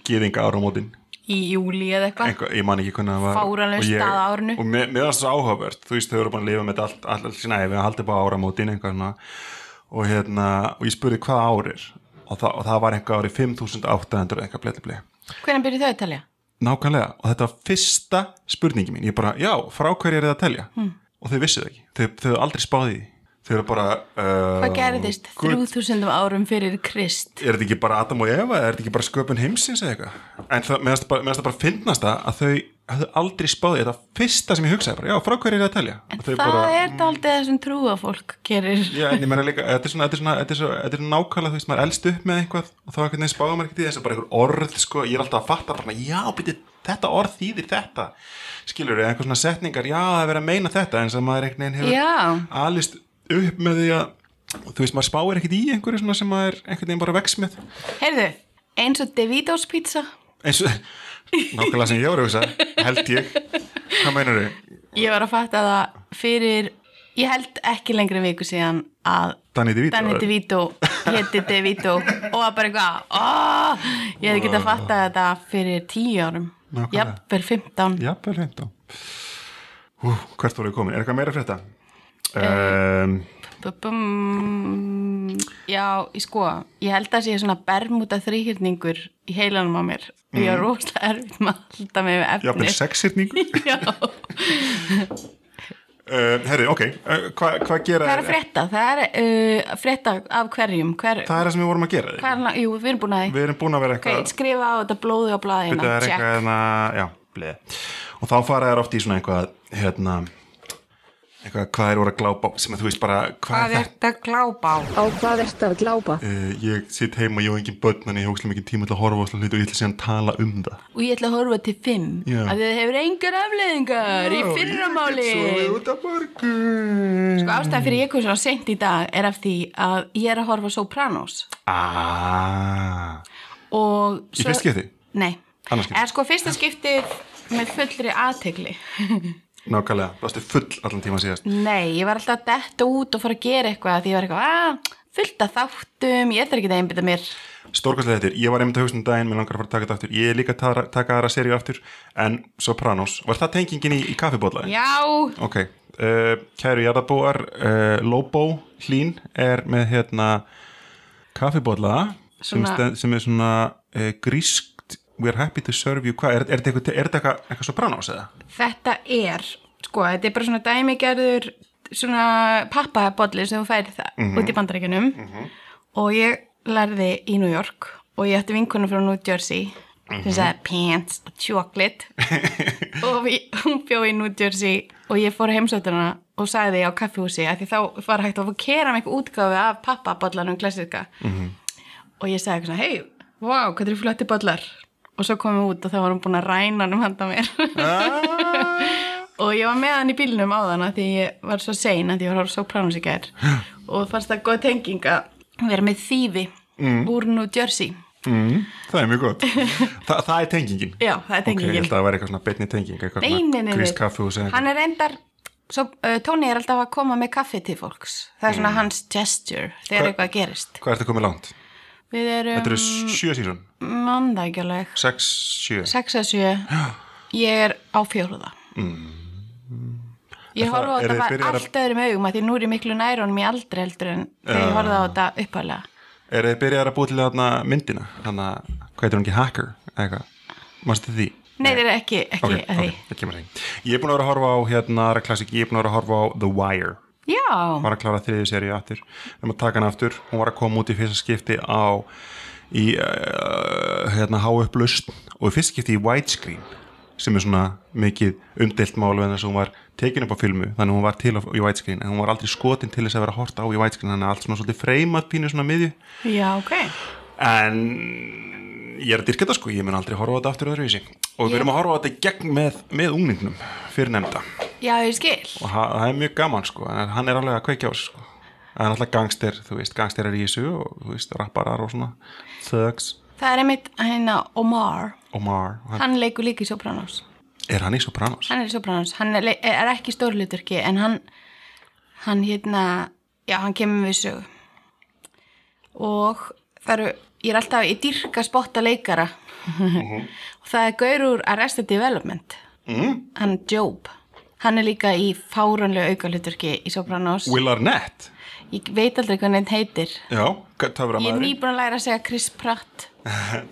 C: gýðinga áramótin
D: í júli eða eitthvað
C: Einhver, ég man ekki hvernig það var
D: Fáránlegur
C: Og ég-
D: stað Ah. á árinu.
C: og mér mér varst svo áhugavert, þú veist þau eru búin að lifa með þetta allt, allt, allt sína æfi að halda upp á áramótin einhver, svona. og hérna, og ég spurði hvað ár er og, það, og það var einhver ári 5800 eitthvað blei, blei, blei
D: Hvernig byrjuð þau að telja?
C: Nákvæmlega, og þetta var fyrsta spurningi mín, ég bara, já, frá hverju er það að telja?
D: Mm.
C: Og þau vissu það ekki, þau, þau hefðu aldrei spáði því, þau eru bara uh,
D: Hvað gerðist
C: gull.
D: 3000 árum fyrir Krist?
C: Er þetta ekki bara Adam og Eva, er þetta ekki bara sköpun heimsins eða eitthvað? En það, meðan það bara, meðan það bara finnast það að þau hefðu aldrei spáði þetta fyrsta sem ég hugsaði bara, já, frá hverju er það að telja?
D: En
C: Og þau
D: það er það aldrei það sem trúafólk gerir.
C: Já, en ég meina líka, þetta er svona, þetta er svona, þetta er svona, þetta er svona nákvæmlega, þú veist, maður elst upp með eitthvað og þá einhvern veginn spáðum maður ekki því þess að bara einhver orð, sko, ég er alltaf að fatta bara, já, byrju, þetta orð þýðir þetta, skilur þau, einhver svona setningar, já, það er verið að meina þetta, en sem maður einhvern veginn hefur
D: Já.
C: alist upp með því að, þú veist, maður spáir ekkert í einhverju svona sem maður einhvern veginn bara vex með,
D: Heyrðu, eins og Davido's pizza.
C: eins og, nákvæmlega sem ég voru, hugsa, held ég, hvað meinar þau,
D: Ég var að fatta það fyrir, ég held ekki lengri en viku síðan að
C: Danny DeVito,
D: Danny DeVito héti DeVito og var bara eitthvað, oh, ég hefði getað fattað þetta fyrir 10 árum.
C: Nákvæmlega.
D: Jafnvel 15.
C: Já, vel reynd á. Hú, hvert voru við komin, er eitthvað meira fyrir þetta?
D: Eh,
C: Um,
D: Bum, já, ég sko, ég held að sé svona bermúta þrýhyrningur í heilanum á mér og
C: Mhm.
D: ég er rosalega erfitt með að halda mig við efni.
C: Jafnvel sexhyrningur
D: Já,
C: uh, Herri, ok, uh, hvað hva gera
D: hvað er að frétta? Það er uh, að frétta af hverjum, hver,
C: Það er það sem við vorum að gera
D: hvað er, la- jú, við erum búin að því.
C: Við erum búin að vera
D: Ok,
C: eitthvað
D: skrifa á þetta blóðu á
C: Bíddu,
D: blaðina,
C: það er
D: check.
C: eitthvað hérna, já, bleð Og þá fara þær oft í svona eitthvað hérna, eitthvað hvað er voru að glápa á, sem að þú veist bara, hvað er þetta?
D: að glápa á?
E: Á hvað ertu að glápa?
C: Uh, ég sitt heima, ég á engin börn en ég hókslega mikið tíma til að horfa á svona hluti og ég ætla síðan að tala um það
D: Og ég ætla að horfa til fimm,
C: Já.
D: af því að það hefur engar afleðingar í fyrramáli.
C: Svo við út af morgun
D: Sko ástæðan fyrir ég kom svona sent í dag er af því að ég er að horfa á Sopranos.
C: Ah,
D: og
C: Í fyrsta skipti?
D: nei,
C: Annað skipti?
D: eða sko fyrsta skipti með fullri aðtegli
C: nákvæmlega, þú varstu full allan tíma síðast
D: nei, ég var alltaf að detta út og fara að gera eitthvað því ég var eitthvað, að, fullt af þáttum ég þarf ekki að einbytta mér
C: Stórkastlega þetta, ég var einmitt að hugsa um daginn, mér langar að fara að taka þetta aftur Ég er líka að tara- taka aðra seríu aftur En Sopranos, var það tengingin í, í kaffibóla?
D: já,
C: Ok, uh, kæru jarðabúar, uh, Lobo Hlín er með hérna kaffibóla sem,
D: Svona-
C: stend, sem er svona uh, grískt We're happy to serve you, hvað, er, er þetta eitthvað, er þetta eitthvað, eitthvað Sopranos eða?
D: þetta er sko, þetta er bara svona dæmigerður svona pappabolli sem þú færið það út í bandarækjunum og ég lærði í New York og ég ætti vinkunum frá New Jersey sem sagði pants og chocolate og við, hún bjóði í New Jersey og ég fór heimsöldurna og sagði á kaffihúsi að því þá var hægt að fá kera með eitthvað útgáfi af pappabollanum klassika og ég sagði eitthvað svona, hei, wow, hvað eru flotti bollar og svo komum við út og þá var hún búin að ræna hann um handa mér
C: Ah.
D: og ég var með hann í bílnum á þann því ég var svo sein að ég var að horfa svo pránus í gær og fannst það góð tenging að vera með þýfi úr New Jersey
C: Mm, það er mjög gott Þa, Það er tengingin
D: Já, það er tengingin.
C: Ok, ég held að það væri eitthvað svona betni tenging eitthvað
D: Nei,
C: svona
D: nei, nei,
C: Chris
D: nei.
C: Kaffehús eða
D: Hann
C: eitthvað.
D: er endar svo, uh, Tóni er alltaf að koma með kaffi til fólks Það er svona hans gesture Þegar
C: Mm. Hva-
D: eitthvað gerist
C: Hvað ertu komið langt?
D: Við
C: Þetta
D: erum
C: eru sjö sísun
D: mandagjáleg
C: Sex, sjö
D: 6 að 7 Ég er á fjóruða
C: Er
D: Ég
C: það-
D: horfa á
C: eru
D: þetta
C: þið
D: bara
C: byrjaðar að-
D: allt öðrum augum að Því nú er ég miklu nærunum í aldrei heldur en Þegar ég horfði á þetta upphæðlega
C: Er þið byrjaðar að búa til þarna myndina? Þannig að, hvað heitir hún ekki, hacker? eða Eitthvað, mástu því?
D: Nei, þeir eru ekki, ekki
C: Ok,
D: að því
C: ok, það kemur því Ég er búin að vera að horfa á, hérna, aðra klassik Ég er búin að vera að horfa á The Wire
D: Já,
C: Var að klára þriðju seríu aftur Við erum að taka hana aftur Hún var að koma út í fyrsta skipti á Í, uh, hérna, háupplaust Og í fyrsta skipti í widescreen Sem er svona mikið umdelt málu En þess að hún var tekin upp á filmu Þannig að hún var til á, í widescreen En hún var aldrei skotin til þess að vera horta á í widescreen Þannig að allt svona svolítið freymað pínu svona miðju
D: já, ok
C: en ég er að dyrka þetta sko, ég mun aldrei horfa á þetta aftur öðruvísi og við erum að horfa á þetta í gegn með, með ungningnum fyrir nefnda og
D: Já, ég skil
C: ha, það er mjög gaman sko en hann er alveg að kveikja á þessu sko það er alltaf gangster, þú veist, gangster er í þessu og þú veist, rapparar og svona thugs,
D: Það er einmitt hérna Omar
C: Omar og hann,
D: Hann leikur líka í Sopranos
C: er hann í Sopranos?
D: hann er í Sopranos, hann er, le- er ekki stórluturki en hann hann hérna, já hann kemur við sögu og það eru ég er alltaf, ég dýrka spotta leikara
C: Mhm.
D: og það er gaur úr Arrested Development mm. hann Job, hann er líka í fáránlega aukaluturki í Sopranos
C: Will Arnett?
D: ég veit aldrei hvað neitt heitir
C: Já,
D: ég er
C: töframæðurinn
D: nýbúin að læra að segja Chris Pratt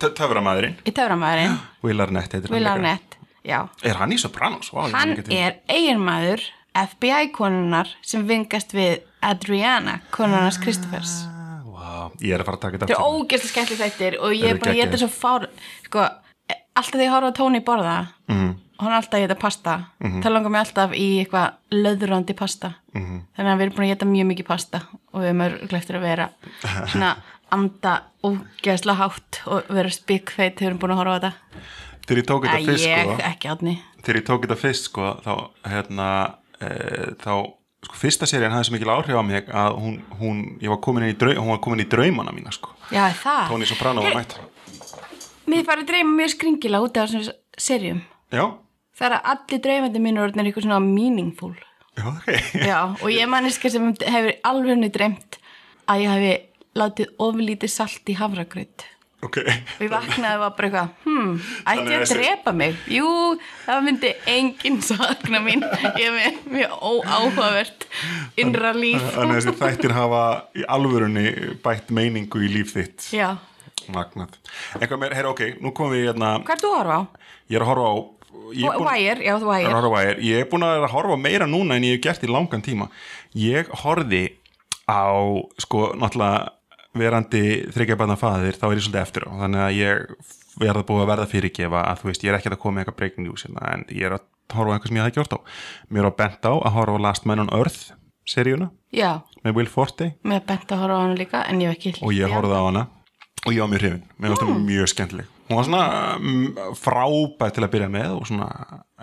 C: töframæðurinn,
D: í töframæðurinn,
C: Will Arnett heitir
D: Will
C: hann líka.
D: Arnett já,
C: er hann í Sopranos? Vá, ég
D: Hann
C: man ekki til.
D: er eiginmaður FBI-konunar sem vingast við Adriana,
C: Ah.
D: konunarnas Kristoffers.
C: Vá, ég er að fara að taka þetta
D: Þetta er
C: aftur.
D: ógeðslega skemmtilegt þættir og ég
C: Þeir
D: er
C: eru
D: bara að geta
C: geggjaðir.
D: svo fár... Sko, eh, alltaf þegar ég horfa á Tóni borða, mm.
C: Mhm.
D: hann er alltaf að geta pasta. Það langar mig alltaf í eitthvað löðurandi pasta.
C: Mhm.
D: -hmm. Þannig að við erum búin að geta mjög mikið pasta og við erum örglega eftir að vera svona anda ógeðslega hátt og vera spikfeit þegar við erum búin að horfa á þetta.
C: Þegar ég tók
D: Æ,
C: þetta fyrst
D: ég
C: sko
D: ekki átni.
C: þegar ég tók þetta fyrst sko, þá, hérna, e, þá sko, fyrsta serían hafði svo mikil áhrif á mig að hún, hún, ég var komin inn í, draum, hún var komin í draumana mína sko.
D: Já, það.
C: Tony Soprano var mætt
D: Mér farið að dreyma mjög skringila út af þessum serjum.
C: já,
D: Það er að allir dreymandi mínur orðnir eitthvað svona meaningful.
C: já, ok
D: Já, og ég er manniska sem hefur alveg dreymt að ég hefi látið oflítið salt í hafragraut.
C: ok,
D: Og ég vaknaði og var bara eitthvað, hmm, ætti
C: Þannig
D: ég
C: að
D: að
C: þessi-
D: drepa mig? Jú, það myndi enginn sakna mín. Ég er með mjög óáhugavert innra líf.
C: þannig að þessi þættir hafa í alvörunni bætt meiningu í líf þitt
D: Já,
C: magnað, eitthvað meir, herra ok nú komum við hérna,
D: hvað er þú að horfa á?
C: ég er að horfa á ég er búin-
D: Wire, já,
C: Ég er
D: þú Wire.
C: að horfa á Wire. Ég er búin að vera að horfa meira núna en ég hef gert í langan tíma. Ég horfi á, sko, náttúrulega verandi þryggjabarna faðir, þá er ég svolítið eftir á. Þannig að ég verða búið að verða fyrirgefa að þú veist, ég er ekki að koma með eitthvað breaking news hérna, en ég er að horfa á eitthvað sem ég hef ekki hort á. Mér var bent á að horfa á Last Man on Earth seríuna
D: Já,
C: með Will Forte
D: mér er bent að horfa á hann líka, en ég hef ekki
C: og ég
D: hlustað.
C: horfði á hana og ég var mjög hrifin, mér fannst hún mjög skemmtileg hún var svona mm, frábæð til að byrja með og svona,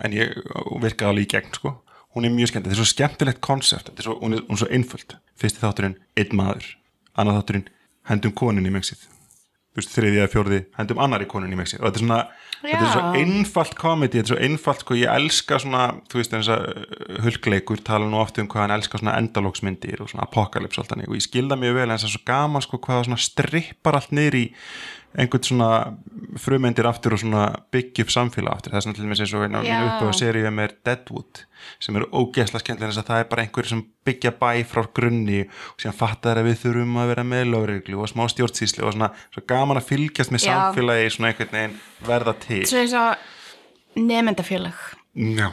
C: en ég virkaði alveg í gegn sko hún er mjög skemmtileg, þetta er svo skemmtilegt konsept þetta er svo, hún, er, hún er svo einföld, fyrsti þátturinn einn maður, annar þátturinn hendum konin í mengsið þú veist, þriði eða fjórði, hendum annari konin í mengsið og þetta er svona, þetta er svo
D: Já.
C: einfalt komedi, þetta er svo einfalt sko, ég elska svona, þú veist, eins að hulgleikur tala nú oft um hvað hann elska svona endalóksmyndir og svona apokalips og allt þannig og ég skilda mjög vel, en það er svo gaman sko hvað það svona strippar allt niður í einhvern svona frumendir aftur og svona byggja upp samfélag aftur, það er svona til dæmis eins og einu
D: Já.
C: upp á seríum er Deadwood sem eru ógeðslega skemmtilega þess að það er bara einhverjir sem byggja bæ frá grunni og síðan fattar að við þurfum að vera með lögreglu og smá stjórnsýslu og svona svo gaman að fylgjast með
D: Já.
C: samfélagi svona einhvern veginn verða til
D: svo eins og nefndafélag
C: Já,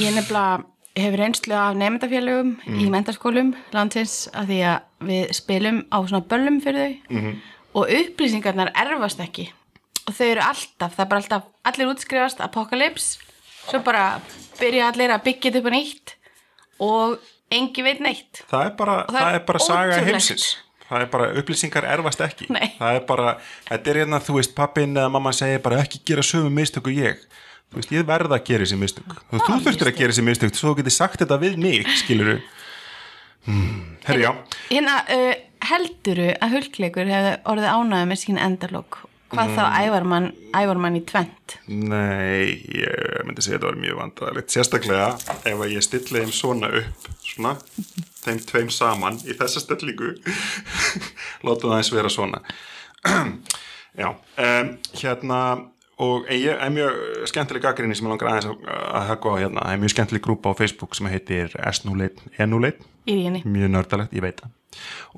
D: ég nefnilega hefur reynslu af nefndafélagum í mentaskólum landsins af því að við spilum á svona böllum fyrir þau og upplýsingarnar erfast ekki og þau eru alltaf, það er bara alltaf allir útskrifast apokalips svo bara byrja allir að byggja þetta upp á nýtt og engi veit neitt
C: það er bara,
D: Og
C: það
D: það er
C: er bara saga
D: ótrúlegt.
C: heimsins það er bara, upplýsingar erfast ekki
D: Nei.
C: það er bara, þetta er hérna, þú veist pappin eða mamma segir bara ekki gera sömu mistök og ég þú veist, ég verða að gera þessi mistök og þú þurftir að gera þessi mistök svo þú getur sagt þetta við mig, skilur hmm. herri, já,
D: Hérna, uh, helduru að hulkleikur hefði orðið ánæðu með sín endalók hvað þá ævar mann, ævar mann í tvent
C: nei ég myndi segja þetta var mjög vandræðilegt sérstaklega ef að ég stilli þeim svona upp svona, þeim tveim saman í þessa stellingu látum það eins vera svona Já, um, hérna og ég ég er mjög skemmtileg gaggrinni sem ég langar aðeins að, að höggva á hérna það er mjög skemmtileg grúpa á Facebook sem heitir S01, E01
D: í ríðinni
C: mjög nördalegt, ég veit það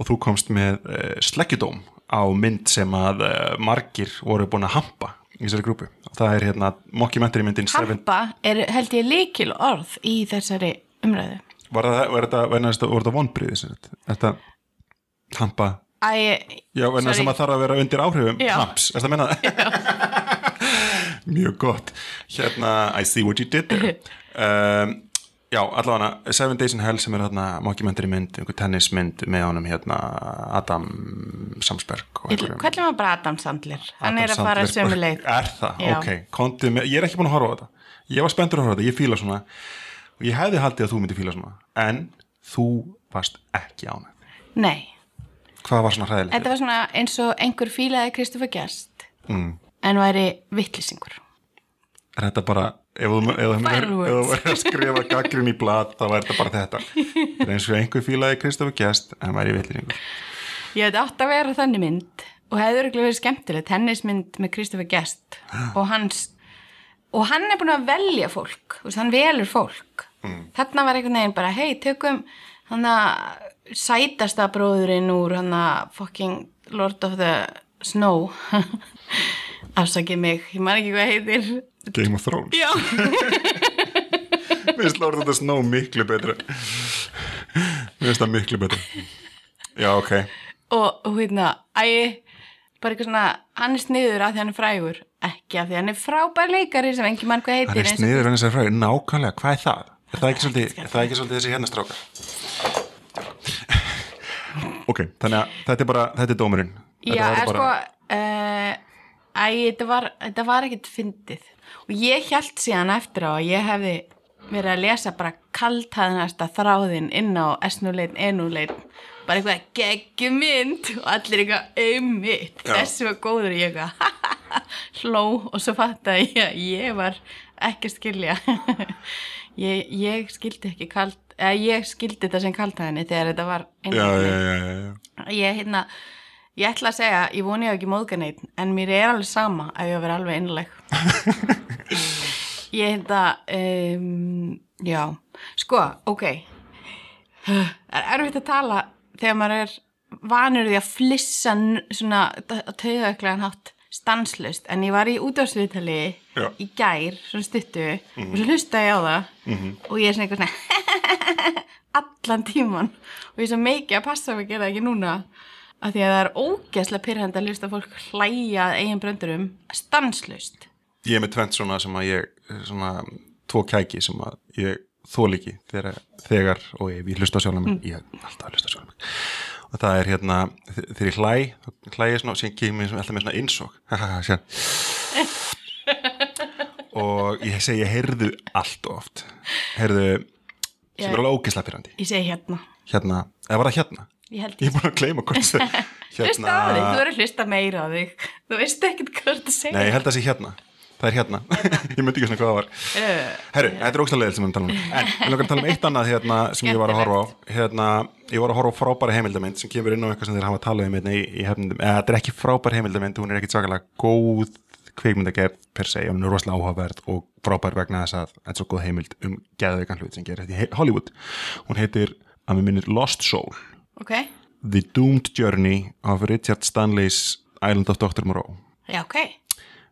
C: og þú komst með uh, sleggjudóm á mynd sem að uh, margir voru búin að hampa í þessari grúpu og það er hérna mockumentary myndin Seven-
D: Hampa er held ég líkil orð í þessari umræðu
C: var, það, var þetta, var þetta, var þetta vonbrið þetta hampa
D: Æ,
C: Já, en það
D: Sorry.
C: sem að þarf að vera undir áhrifum
D: Já.
C: Hamps, er það að menna það? Mjög gott Hérna, I see what you did there um, Já, allavega Seven Days in Hell sem er hérna mockumentary mynd, einhver tennismynd með honum hérna Adam Samsberg og
D: Ég-
C: einhverjum.
D: Hvernig var bara Adam Sandler? Hann
C: Adam
D: er að fara
C: Sandler. sko.
D: sömu leið.
C: Er það,
D: Já.
C: ok, kontu með, ég er ekki búin að horfa á þetta Ég var spenntur að horfa á þetta, ég fíla svona og ég hefði haldið að þú myndi fíla svona en þú varst ekki ánægð
D: Nei,
C: Hvað var svona hræðilegt?
D: þetta var svona eins og einhver fílaði Kristoffer Gjast mm. en væri vittlisingur.
C: er þetta bara ef þú ef þú- ef
D: Fireworks.
C: þú verður að skrifa gaggrin í blad þá er þetta bara þetta það er eins og einhver fílaði Kristofur Gjast en væri villingur
D: Ég hefði átt að vera þannig mynd og hefði örgulega verið skemmtilegt tennismynd með Kristoffer Gjast
C: Ah.
D: og hans og hann er búin að velja fólk þú veist, hann velur fólk
C: Mm.
D: þarna var einhvern veginn bara, hei, tökum hann að sætasta bróðurinn úr hann að fucking Lord of the Snow afsakið mig, ég man ekki hvað heitir
C: Game of Thrones
D: Já.
C: mér finnst Lord of the Snow miklu betra mér finnst það miklu betra já ok
D: og og hérna, æ, bara eitthvað svona, hann er sniður af því hann er frægur, ekki af því hann er frábær leikari sem engin mann hvað heitir.
C: hann er
D: eins og-
C: sniður hann er sér fræður nákvæmlega hvað er það? er það ekki svolítið, er það ekki svolítið þessi hérna strákar? ok, þannig að þetta er bara þetta er dómurinn Þetta
D: Já,
C: var
D: er sko, uh, æ, þetta var, þetta var ekkit fyndið. Og ég held síðan eftir á að ég hefði verið að lesa bara kaltaðnasta þráðinn inn á S-nuleitn, E-nuleitn, bara eitthvað geggjumynd og allir eitthvað auðmynd, þessi var góður og ég eitthvað hló og svo fattaði ég að ég var ekki að skilja. ég, ég skildi ekki kalt, eða ég skildi þetta sem kaltaðinni þegar þetta var inn
C: já,
D: á
C: já, já, já, já.
D: ég, hérna, ég ætla að segja, ég voni ég á ekki móðganeit en mér er alveg sama ef ég á að vera alveg innleg ég hérna um, já, sko, ok það er erfitt að tala þegar maður er vanur því að flissa n- svona tauðauklegan hátt stanslust en ég var í útásviðtali
C: Já.
D: í gær, svona stuttu og svo hlusta ég á það og ég er svona eitthvað svona allan tíman og ég er svo mikið að passa mig að gera það ekki núna af því að það er ógeðslega pyrrandi að hlusta á fólk hlæja að eigin bröndurum stanslust
C: ég er með tvent svona sem að ég svona tvo kæki sem að ég þól ekki þegar, þegar og ef ég hlusta á sjálfum
D: Mm.
C: mig, ég er alltaf að hlusta á sjálfum mig og það er hérna, þe- þegar ég hlæ þá hlæ ég svona og síðan kemur ég alltaf með svona innsók Síðan. og ég segi ég heyrðu allt of oft heyrðu, sem
D: Ég-
C: er alveg ógislega pyrrandi
D: ég segi hérna,
C: hérna, eða var það hérna?
D: ég held
C: ég
D: ég
C: er búin að gleyma hvort það- Hérna-
D: hlusta á þig, þú verður að hlusta meira á þig þú veist ekkert hvað þú ert að segja
C: Nei, ég held að það sé hérna Það er hérna, ég myndi ekki svona hvað það var Herru, þetta er ógstæðlega sem við erum að tala um En við langar að tala um eitt annað hérna sem ég var að horfa á hérna, Ég var að horfa á frábæra heimildamind sem kemur inn á eitthvað sem þeir hafa talað um hérna í, í hefnindum eða þetta er ekki frábæra heimildamind, hún er ekkit svakalega góð kvikmyndagerð per se og hún er rosalega áhugaverð og frábær vegna þess að þetta er svo góð heimild um geðveikan hlut sem gerir þetta í he- Hollywood Hún heitir, að mér minnir, Lost Soul
D: ok,
C: The Doomed Journey of Richard Stanley's Island of Dr. Moreau
D: já ok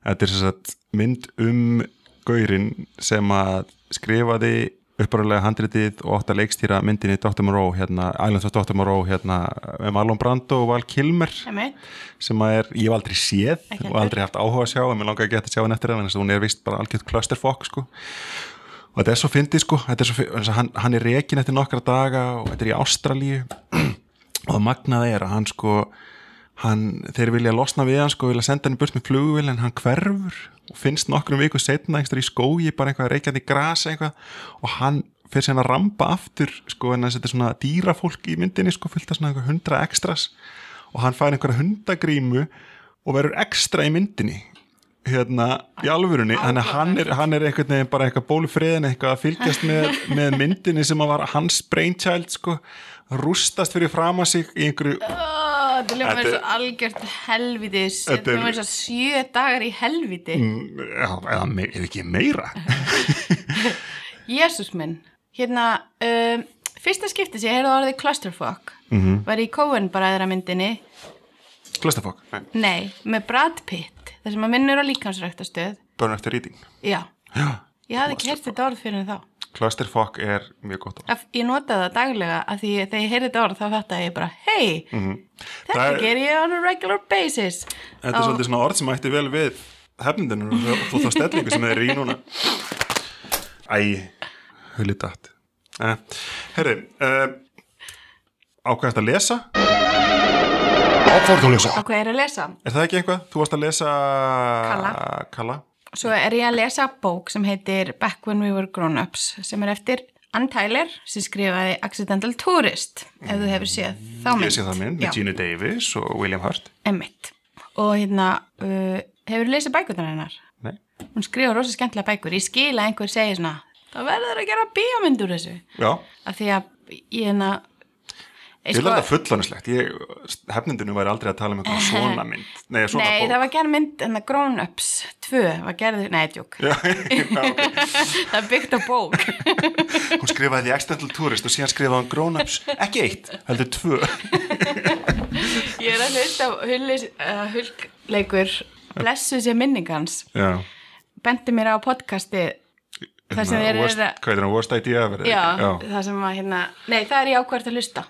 C: Þetta er sem sagt mynd um gaurin sem að skrifaði uppræðulega handritið og átt að leikstýra myndinni Dr. Moreau, hérna, Islands of Dr. Moreau hérna, með Marlon Brando og Val Kilmer
D: Einmitt.
C: sem að er, ég hef aldrei séð
D: Ekki
C: og aldrei haft áhuga að sjá, en mér langar að geta að sjá hann eftir hann, en hún er vist bara algjörð clusterfokk sko og þetta er svo fyndið sko þetta er svo fyndið, hann, hann er rekin eftir nokkra daga og þetta er í Ástralíu og það magnaði er að hann sko hann, þeir vilja losna við hann sko vilja senda hann í burt með flugvél en hann hverfur og finnst nokkrum viku setna einhverjum í skógi bara eitthvað reykjandi gras eitthvað og hann fyrir sér að rampa aftur sko en þess að þetta er svona dýrafólk í myndinni sko fyllt af svona einhver hundra extras og hann fær einhverja hundagrímu og verður ekstra í myndinni hérna í alvörunni þannig að hann er, hann er einhvern veginn bara eitthvað bólufriðin eitthvað að fylgjast með, með myndinni sem að var hans brainchild sko rústast fyrir fram að sig í einhverju
D: Ó, Þetta ljóma
C: Þetta-
D: eins og algjört helvitis
C: Þetta er-
D: Þetta
C: Mm.
D: ljóma eins og sjö dagar í helviti
C: já, eða me- ef ekki meira
D: Jésús minn Hérna, um, fyrsta skipti sem ég heyrði orðið clusterfuck
C: Mhm.
D: var í Coen bara aðra myndinni
C: Klöstafokk,
D: Nei, með Brad Pitt þar sem að minnur á líkansræktastöð
C: börn eftir rýting
D: Já, ég hafði ekki heyrt þetta orð fyrir en þá
C: Klöstafokk er mjög gott orð.
D: Af- Ég notaði það daglega að því þegar ég heyrði þetta orð þá þetta ég bara, hei, þetta
C: Mhm. Það er-
D: ger ég on a regular basis
C: þetta er svolítið svona orð sem ætti vel við hefnindinu og þú þá stellingu sem þeir eru í núna æ, hulli dætt eh, herri eh, ákvæðast að lesa
B: Áfórð að lesa
D: Á hvað er að lesa?
C: er það ekki eitthvað? þú varst að lesa
D: Kalla.
C: Kalla.
D: Svo er ég að lesa bók sem heitir Back When We Were Grown-Ups sem er eftir Ann Tyler sem skrifaði Accidental Tourist ef þú hefur séð þá mynd.
C: ég sé það minn, með Gina Davis og William Hurt
D: Emmitt. Og hérna, uh, hefur þú lesað bækurnar hennar?
C: Nei.
D: Hún skrifa rosa skemmtilega bækur. Ég skil að einhver segi svona, það verður að gera bíómynd úr þessu.
C: já,
D: Af því að ég hérna...
C: ég
D: sko-
C: vil þetta fullanislegt hefnindinu væri aldrei að tala um eitthvað svona mynd nei, svona
D: Nei,
C: bók
D: það var gerð mynd, hérna Grown-Ups 2 var gerð, nei, djók.
C: Já, já, ok.
D: það er byggt á bók.
C: hún skrifaði The Accidental Tourist og síðan skrifaði hún Grown Ups ekki eitt, heldur tvö
D: Ég er að hlusta á hullis, uh, hulkleikur Blessu sé minningans
C: já
D: Bendi mér á podcasti Það
C: Hérna,
D: sem þeir
C: worst-
D: eru að
C: Hvað er það, worst idea ever?
D: Já,
C: já,
D: það sem að hérna Nei, það er ég ákvært að hlusta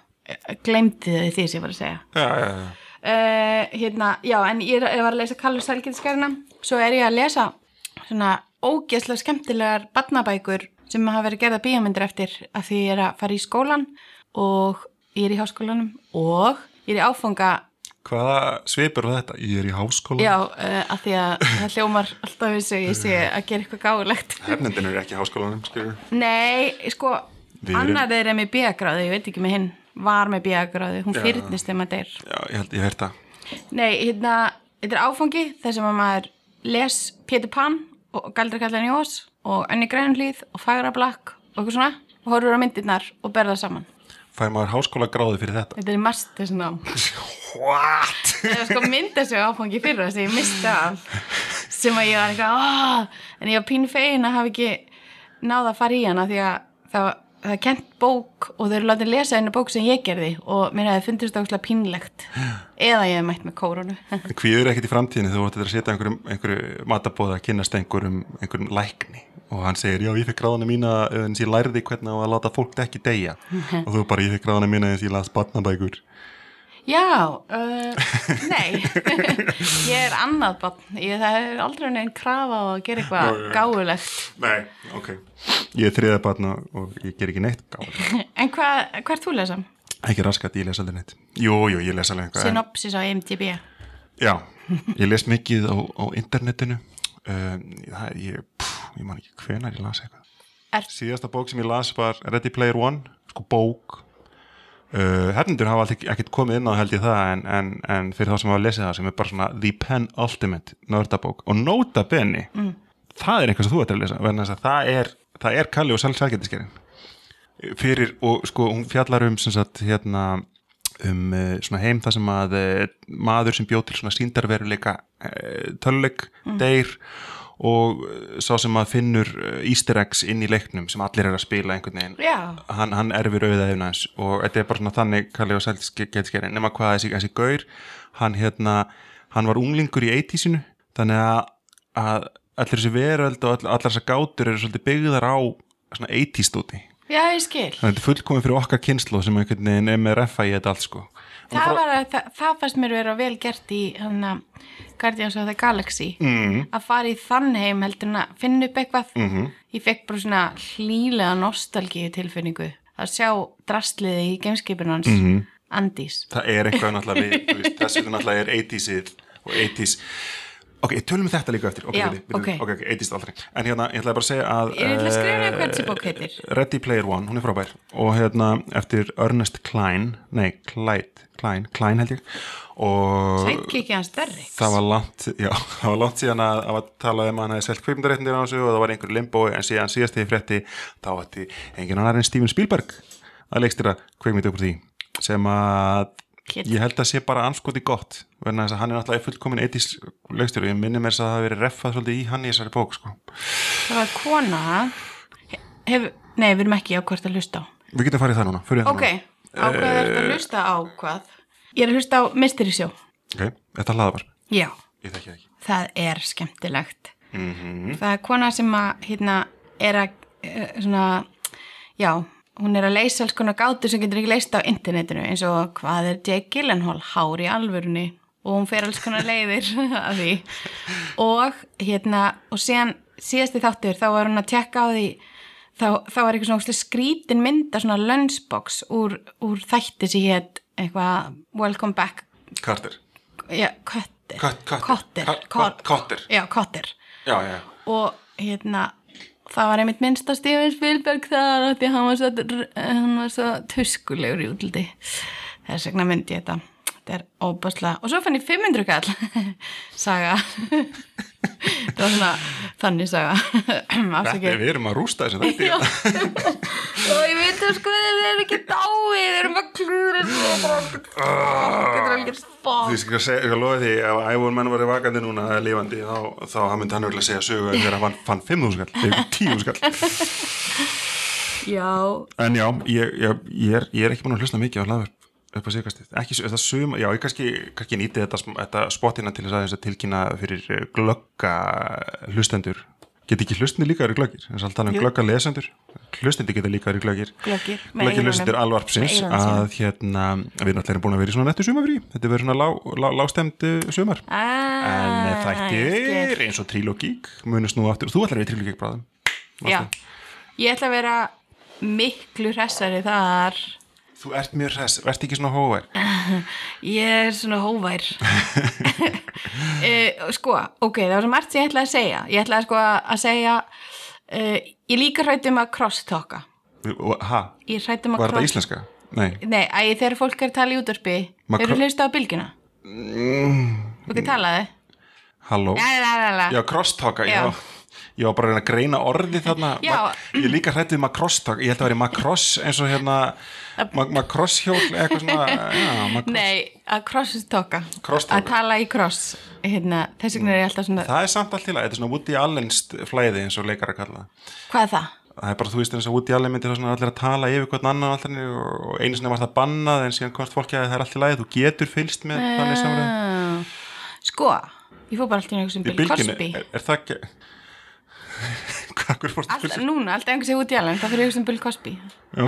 D: Glemdi þau því sem ég var að segja
C: já, já, já.
D: uh, Hérna, já, en ég, er, ég var að lesa Kallur Sælgindskærina Svo er ég að lesa Svona ógeðslega skemmtilegar Barnabækur sem hafa verið gerða bíómyndir eftir Af því ég er að fara í skólan Og ég er í háskólanum Og ég er í áfanga
C: Hvaða svipur var þetta? Ég er í háskóla
D: Já, uh, að því að það hljómar alltaf eins og ég sé að gera eitthvað gáðulegt.
C: Hefnendin er ekki í háskólanum, skilur
D: Nei, sko,
C: Við erum-
D: annar þeir er með bíagráðu, ég veit ekki með hinn, var með bíagráðu, hún fyrnist þegar maður deyr.
C: Já, ég held, ég held það
D: Nei, hérna, þetta er áfangi þar sem að maður les Pétur Pan og Galdrakallan í Ós og Önni Grænlíð og Fagra Blakk og eitthvað svona og horfur á myndirnar og berða saman.
C: Fær maður háskóla gráði fyrir þetta?
D: Þetta er master svona,
C: What?
D: það var sko myndasögu áfangi fyrir það sem ég misti af sem að ég var eitthvað "Ah," en ég var pínu fegin að hafa ekki náða að fara í hana því að það, það er kent bók og þau eru látið að lesa einu bók sem ég gerði og mér hefði fundist það óslega pínlegt eða ég hefði mætt með kórunu
C: Kvíður ekkit í framtíðinu þú ættir að setja einhverjum, einhverju matabóða að kynnast einhverjum, einhverjum lækni og hann segir, já, ég fekk gráðana mína en ég lærði hvernig á að láta fólk ekki deyja og þú bara, ég fekk gráðana mína en ég las batnabækur
D: Já, uh, nei ég er annað barn ég, það er aldrei neginn krafa á að gera eitthvað gáulegt
C: Nei, ok Ég er þriða batna og ég ger ekki neitt gáði
D: en hvað, hvað er þú lesam?
C: Ekki raskat, ég les alveg neitt Jú, jú, ég les alveg eitthvað en-
D: Synopsis á E IMDb
C: Já, ég les mikið á, á internetinu um, það, ég, pff, ég man ekki hvenar ég las eitthvað
D: Er-
C: Síðasta bók sem ég las var Ready Player One, sko bók uh, Hefnendur hafa alltaf ekkert komið inn á held ég það en, en, en fyrir þá sem hafa lesið það sem er bara svona The Pen Ultimate nördabók og Nota Bene það er eitthvað sem þú ættir að lesa vegna þess að það er, það er Kalli og Sæl Sælgætiskerinn fyrir og sko hún fjallar um sem sagt hérna um uh, svona heim það sem að uh, maður sem bjóð til svona síndarveruleika uh, töluleik, deyr og uh, sá sem að finnur uh, easter eggs inn í leiknum sem allir er að spila einhvern veginn
D: Já.
C: hann, hann erfir auða efna hans og þetta er bara svona þannig Kalli og Sælsketskerinn nema hvað þessi, þessi gaur hann, hérna, hann var unglingur í 80-sinu þannig að, að allir þessi veröld og all, allar þessar gátur eru svolítið byggðar á svona 80s stúti
D: já, ég skil
C: þannig að þetta er fullkomið fyrir okkar kynslu sem einhvern veginn er með refa í þetta allt sko
D: það, var, að- það, það fannst mér vera vel gert í hann að Guardians of the Galaxy mm. að fara í þann heim heldur en að finna upp eitthvað -hmm. ég fekk bara svona hlýlega nostalgíu tilfinningu að sjá drastliði í gameskipinu hans mm. Andís
C: það er eitthvað náttúrulega við, þú veist, þess vegna náttúrulega er 80sið og 80s ok, tölum við þetta líka eftir ok,
D: Já,
C: við, við,
D: ok.
C: ok, ok, 80s aldrei en hérna, ég ætlaði bara að segja að
D: Ég ætla að skrifa niður
C: eh,
D: hvað þessi bók heitir.
C: Ready Player One, hún er frábær og hérna, eftir Ernest Klein nei, Clyde, Klein, Klein held ég og
D: Sveitkiki hans Derrick
C: það var langt, já, það var langt síðan að, að tala um að hann hefði selt kveikmyndaréttindir á þessu og það var einhver limbo en síðan síðast þegar ég frétti þá ætti engin annar en Steven Spielberg að leikstýra kveikmyndu upp úr því sem að
D: Kid.
C: ég held að sé bara anskoti gott verðan þess að hann er náttúrulega fullkomin 80s leikstýru, ég minni mér þess að það hafi verið reffað svolítið í hann í þessari bók sko.
D: Það var kona hef, Nei, við erum ekki ákvært að hlusta á
C: við getum farið í það núna, fyrir það
D: Ok, ákvæð er að hlusta á hvað Ég er að hlusta á Mystery Show
C: núna ok, þetta hlaðvar,
D: Já,
C: ég þekki það ekki
D: það er skemmtilegt
C: Mhm.
D: Það er kona sem að hérna er að eh, svona, já hún er að leysa alls konar gátur sem getur ekki leist á internetinu eins og hvað er Jake Gyllenhaal hár í alvörunni og hún fer alls konar leiðir af því og hérna og síðan síðasti þáttur þá var hún að tjekka á því þá, þá var eitthvað svona ógeðslega skrítin mynda svona lunchbox úr, úr þætti sem hétt eitthvað Welcome Back
C: Carter,
D: já, Kötter
C: Kött- Kötter.
D: Kotter
C: Kött-
D: Kor-
C: Kotter.
D: Já, Kotter
C: já, já, já
D: og hérna það var einmitt minnst að Steven Spielberg þar af því að hann var svo, eh, hann var svo tuskulegur í útliti þess vegna myndi ég þetta þetta er óbáslega, og svo fann ég 500 kall saga það var svona þannig saga
C: Þetta,
D: afsakið
C: við erum að rústa þessu þetta
D: Já. og ég veit að sko þið er ekki dáið, þið erum að klúra þessu og bara getur alveg
C: Þú
D: fokk
C: veist ekki að segja, Ah. ég loði því ef Ævon menn var vakandi núna eða lifandi þá, þá hann myndi hann auðvitað segja sögu þegar hann fann- fann 5.000 skall, eða 10.000 skall
D: já,
C: en já, ég, ég, ég, er, ég er ekki búin að hlusta mikið á hlaðverk upp á síðkastið, ekki s- það sum já, ég kannski, kannski nýti þetta, sm- þetta spotina til þess aðeins að tilkynna fyrir eh, glögga hlustendur get ekki hlustandi líka verið glöggir þess að tala um glögga lesendur hlustandi geta líka verið glöggir
D: Glöggir, með
C: glöggir
D: eyrunum.
C: hlustendur alvarpsins
D: Með eyrunum sínum.
C: að hérna, við náttúrulega erum búin að vera í svona nettu sumafrí þetta verður svona lá, lá, lágstemdu eh, sumar
D: ah,
C: en eh,
D: ég
C: þættir
D: skil.
C: eins og trilogík munist nú aftur, þú ætlar að vera í trilogík bráðum
D: já, ég ætla að vera miklu hressari þar
C: þú ert mjög hress, ert ekki svona hóver
D: Ég er svona hóvær e, Sko, ok, það var svo margt sem ég ætlaði að segja Ég ætlaði sko að segja e, Ég er líka hrætt um að crosstalka
C: ha,
D: Ég er hrætt um að
C: var þetta
D: cross...
C: íslenska? nei,
D: Nei, æ, þegar fólk er að tala í útvarpi
C: Ma-
D: Þeir eru hlusta á bylgina Ok, talaði
C: halló
D: la, la, la, la.
C: Mm. já, crosstalka, já
D: Já.
C: ég var bara að reyna að greina orði þarna
D: Já.
C: Ma- ég er líka hrættu um makrosstalk ég held að vera makross eins og hérna ma- makrosshjól, eitthvað svona já, makross.
D: Nei, að crosstalka
C: Crosstalka.
D: Að tala í cross hérna, Þess vegna er ég alltaf svona
C: það er samt allt til að, þetta er svona Woody Allen's flæði eins og leikar að kalla það
D: Hvað er það?
C: það er bara, þú veist, eins og út í alveg myndir svona allir að tala yfir hvern annan allir og og einu sinni var það bannað en síðan komst fólki að það er allt í lagi, þú getur fylgst með þannig samræðum.
D: Ah, Sko, ég fór bara alltaf í einhversum
C: Í
D: um
C: Eh,
D: Bill
C: bylginu,
D: Cosby
C: er, er það ekki hvað, hver fórst að
D: Alltaf,
C: fylgst?
D: núna, alltaf einhvers ég út í alveg, þá fyrir ég hugsa um Bill Cosby.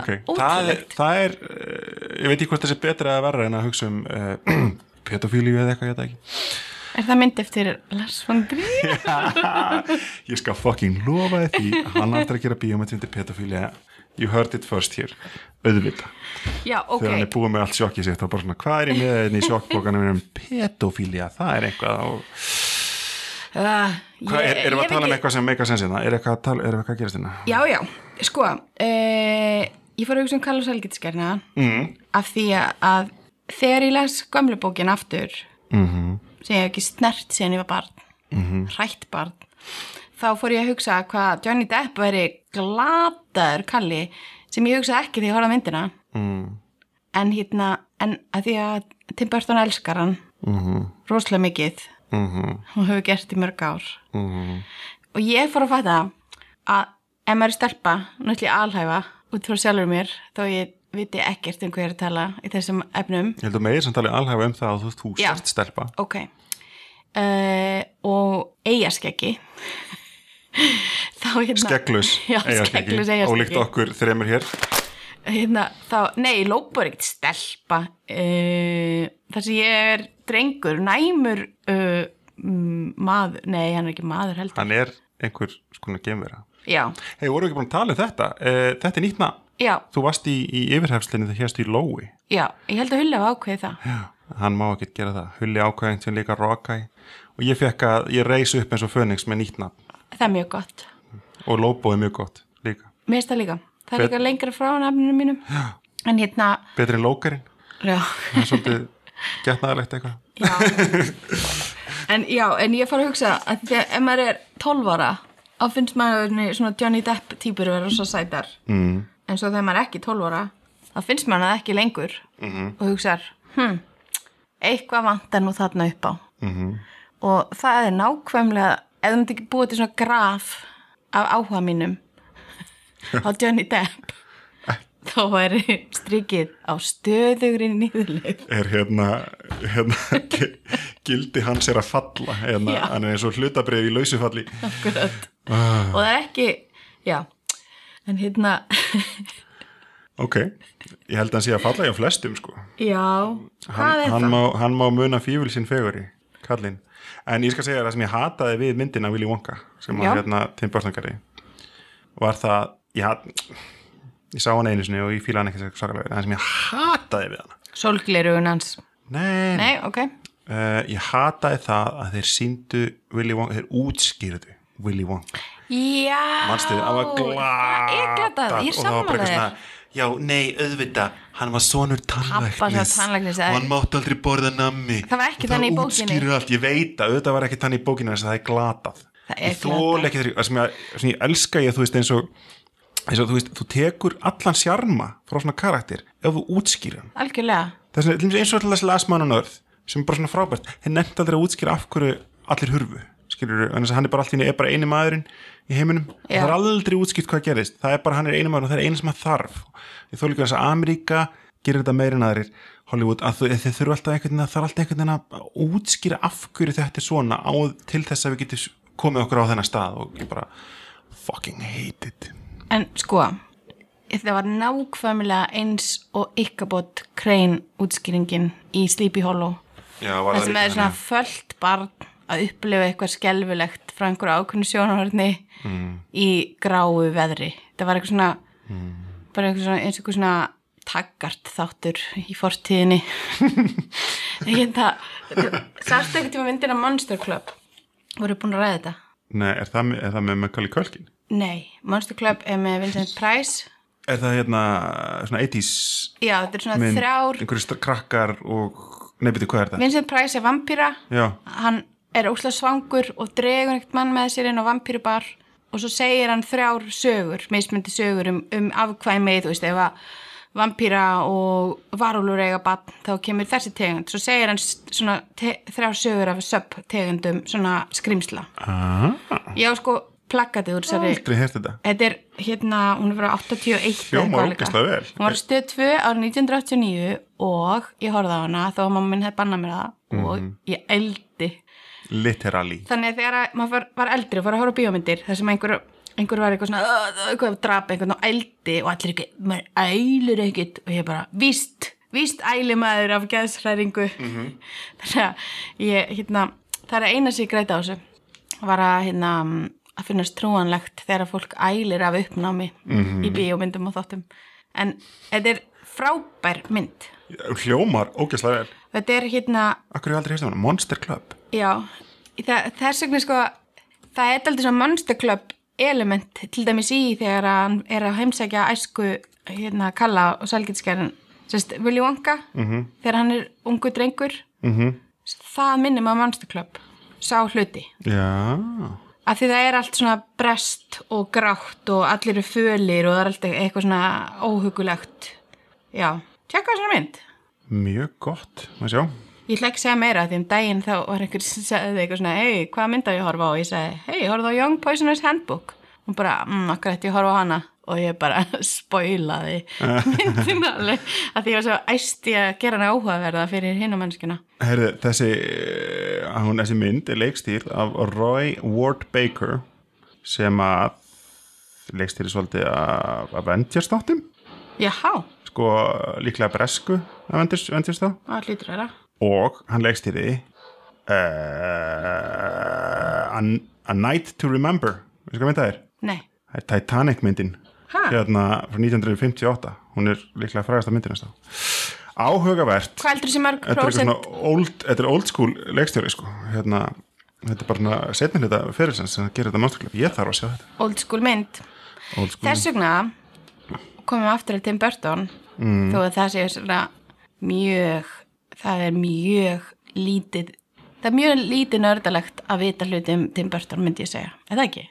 C: Ok, það er, það er eh, ég veit ekki hvort þessi er betra eða verra en að hugsa um uh, pedofílíu eða eitthvað, ég veit það ekki
D: Er það mynd eftir Lars von Trier?
C: ég skal fucking lofa þér því að hann aftur að gera bíómynd undir pedofílíu you heard it first here, auðvitað
D: Já, ok.
C: þegar hann er búið með allt sjokkið sitt og bara svona, hvað er ég með þeirni í sjokkbókanum um pedofília, það er eitthvað og,
D: Uh,
C: hvað, er, erum við að tala um eitthvað sem meika sensi það, er eitthvað að tala, erum við eitthvað að gerast hérna
D: Já, já, sko, uh, ég fór að hugsa um Carlos Helgitskerna mm. af því að þegar ég les gömlu bókin aftur, -hmm. sem ég hef ekki snert síðan ég var barn, -hmm. rætt barn, þá fór ég að hugsa hvað Johnny Depp væri glataður kalli sem ég hugsaði ekki þegar ég horfði á myndina.
C: mm,
D: en hérna, en að því að Tim Burton elskar hann -hmm. rosalega mikið
C: mm -hmm,
D: og hefur gert í mörg ár
C: mm -hmm.
D: og ég fór að fatta að ef maður er stelpa, náttúrulega alhæfa út frá sjálfur mér, þó ég viti ekkert um hvað ég er að tala í þessum efnum
C: ég held að meir sem talið alhæfa um það að þú, þú
D: Já.
C: sért stelpa
D: ok Eh, uh, og eigaskeggi þá hérna,
C: Skegglus
D: já,
C: eyjaskeggi,
D: skegglus eigaskeggi
C: Ólíkt okkur þremur hér
D: hérna, þá, nei, lópa er ekkert stelpa uh, þar sem ég er drengur, næmur uh, mm, maður nei, hann er ekki maður heldur
C: Hann er einhver skona gemvera
D: já,
C: Hei, voru ekki búin að tala um þetta? Uh, þetta er nýtt nafn
D: já,
C: Þú varst í, í yfirhefslinni þegar hérstu í Lói
D: já, ég held að hulja á ákveði það
C: Já, hann má ekkert gera það Hulli ákvæðin sem líka Rokai og ég fekk að, ég reis upp eins og Fönix með nýtt nafn
D: það er mjög gott,
C: og Lóbo er mjög gott líka
D: mér finnst það líka það er
C: Hver-
D: líka lengra frá nafninu mínum já. en hérna,
C: Betri en Lókarinn,
D: já
C: það er svolítið getnaðalegt eitthvað
D: Já. en já, en ég fara að hugsa að því að ef maður er 12 ára þá finnst maður nei, svona Johnny Depp týpur vera rosa sætar mm. en svo þegar maður er ekki 12 ára þá finnst maður það ekki lengur -hmm. og hugsar, hm eitthvað vantar nú þarna upp á -hmm. og það er nákvæmlega ef þú myndi ekki búið til svona graf af áhuga mínum á Johnny Depp þá væri strikið á stöðugri nýðuleg
C: er hérna, hérna gi- gildi hans er að falla hérna,
D: Já.
C: hann er eins og hlutabrið í lausufalli Ah.
D: og það er ekki, já en hérna,
C: ok, ég held að hann sé að falla hjá flestum sko
D: já
C: hann,
D: hvað er
C: hann,
D: það?
C: má, hann má muna fífil sinn feguri kallinn, en ég skal segja þér það sem ég hataði við myndina Willy Wonka sem
D: Já.
C: hann hérna Tim Burton gerði var það, ég hat ég sá hann einu sinni og ég fíla hann ekki svo svakalega en það sem ég hataði við hann
D: Sólglerugun hans
C: nei,
D: Nei, ok,
C: Uh, ég hataði það að þeir síndu Willy Wonka, þeir útskýrðu Willy Wonka
D: já
C: Manstu, það var glatað
D: Það er glatað, ég
C: og það var bara eitthvað
D: sammála
C: svona
D: þér
C: Já, nei, auðvita, hann var sonur
D: Pabba
C: tannlæknis
D: sem tannlæknis,
C: og
D: eða-
C: hann mátti aldrei borða nammi
D: Það var ekki
C: Og
D: þannig í bókinni.
C: Það útskýrir allt, ég veit að auðvitað var ekki þannig í bókinni þess að það er glatað
D: Það er
C: Ég þól
D: glatað.
C: ekki þegar, það sem ég, sem ég elska ég, þú veist, eins og, eins og þú veist, þú tekur allan sjarma frá svona karakter ef þú útskýrir hann
D: Algjörlega,
C: Það er svona- eins og alltaf last man on earth sem er bara svona frábært, þeir nefndi aldrei að útskýra af hverju allir hurfu skilur, þannig að hann er bara allt í einu, er bara eini maðurinn í heiminum,
D: Já.
C: það er aldrei útskýrt hvað gerist, það er bara hann er eini maðurinn og það er eina sem hann þarf ég þó líka þess að Ameríka gerir þetta meira en aðrir Hollywood, að þau- þeir þurfa alltaf einhvern veginn að það er alltaf einhvern veginn að útskýra af hverju þetta er svona á, til þess að við getum komið okkur á þennan stað og ég bara fucking hate it
D: en sko það var nákvæmlega eins og ykkabót krein útskýringin í Sleepy Hollow
C: Já, var
D: það sem er svona föllt barn að upplifa eitthvað skelfilegt frá einhverju ákveðnu sjónarhörni í gráu veðri það var eitthvað svona bara eitthvað svona, eins og eitthvað svona taggart þáttur í fortíðinni ég get það sartu eitthvað tíma myndina Monster Club voru búin að ræða þetta
C: Nei, er það, með- er það með Macaulay Culkin?
D: nei, Monster Club er með Vincent Price
C: Er það hérna svona 80s
D: já, þetta er svona
C: mynd,
D: þrjár
C: einhverjir str- krakkar og nefnir hvað er það?
D: Vincent Price er vampýra
C: Já,
D: hann er óslega svangur og dregur eitt mann með sér inn á vampýrubar og svo segir hann þrjár sögur mismyndi sögur um, um afkvæmi þú veist, ef að vampýra og varúlur eiga bann þá kemur þessi tegund, svo segir hann s- svona te- þrjár sögur af söp tegundum svona skrimsla ah. ég á sko plakatið úr þessari
C: aldrei hérst þetta
D: Þetta er hérna, hún er frá 81 eða
C: Hljómar
D: eitthvað líka.
C: ógeðslega vel.
D: Hún var stöð 2 árið 1989 og ég horfði á hana þó að mamma minn hefði bannað mér það
C: Mhm.
D: og ég eldi.
C: Literally
D: Þannig að þegar að maður var, var eldri og fór að horfa á bíómyndir þar sem einhver, einhver var eitthvað svona "Ugh, eitthvað drap einhvern og eldi og allir ekki, maður ælir ekkit og ég bara, víst, víst æli maður af geðsræringu. Þannig að ég, hérna, það er eina sem ég græta á þessu var að, hérna, að finnast trúanlegt þegar fólk ælir af uppnámi í bíómyndum og þáttum. En þetta er frábær mynd.
C: Hljómar, ógæslega vel
D: Þetta er hérna,
C: Akkur er aldrei hérst þetta? Monster Club
D: Já, það, þess vegna sko, það er aldrei svona Monster Club element til dæmis í þegar að hann er að heimsækja æsku hérna Kalla og Sælgitskjærin, sérst, Willy Wonka, -hmm. þegar hann er ungu drengur, mm -hmm. það minnum að Monster Club, sá hluti.
C: Já,
D: Af því það er allt svona brest og grátt og allir eru fölir og það er allt eitthvað svona óhugulegt. Já, tjekka svona mynd.
C: mjög gott, maður sjá
D: Ég ætla ekki að segja meira því um daginn þá var einhver sem sagði eitthvað svona hei, hvaða mynd á ég að horfa á? Og ég sagði, hei, horfðu á Young Poisoners Handbook og bara, mmm, akkur ætti ég að horfa á hana og ég bara spoilaði myndin alveg að því ég var svo æsti að gera hana áhugaverða fyrir hinn og mennskuna
C: Herðu, þessi, eh, hún, þessi mynd er leikstýr af Roy Ward Baker sem að leikstýri svolítið af Avengers þáttum
D: Jáhá,
C: sko líklega bresku Avengers, Avengers þá
D: það hlýtur að vera.
C: og hann leikstýri uh, eh, a, a Night to Remember veistu hvað mynd það er?
D: Nei,
C: Það er Titanic myndin
D: Ha?
C: hérna frá 1958 hún er líklega frægasta myndin næsta áhugavert
D: hvað heldur sem mörg
C: þetta er, eitthvað
D: prósent?
C: svona old, þetta er old school leikstjóri sko. hérna, þetta er bara svona setni hluta fyrirsins sem gerir þetta masterclub ég þarf að sjá þetta
D: Old school mynd.
C: old school
D: Þess vegna komum við aftur að Tim Burton
C: Mm.
D: þó að það sé svona mjög, það er mjög lítið, það er mjög lítið nördalegt að vita hluti um Tim Burton myndi ég segja, er það ekki?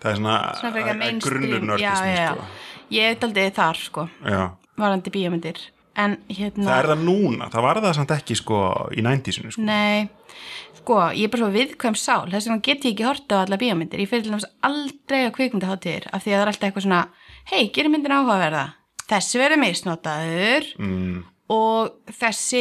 C: það er svona,
D: Svona
C: að-
D: frekar
C: að
D: mainstream.
C: grunnur sko.
D: já, já, já.
C: nördismi
D: Ég er aldrei þar
C: sko.
D: sko,
C: já.
D: varandi bíómyndir en hérna
C: það er það núna, það var það samt ekki sko, í 90-sinu sko.
D: Nei, sko, ég er bara svo viðkvæm sál, þess vegna get ég ekki horta á alla bíómyndir, ég fyrir til náms aldrei að kvikmyndaháttir af því að það er alltaf eitthvað svona, hei, gerir myndin áhugaverða, þessi verður misnotaður mm. og þessi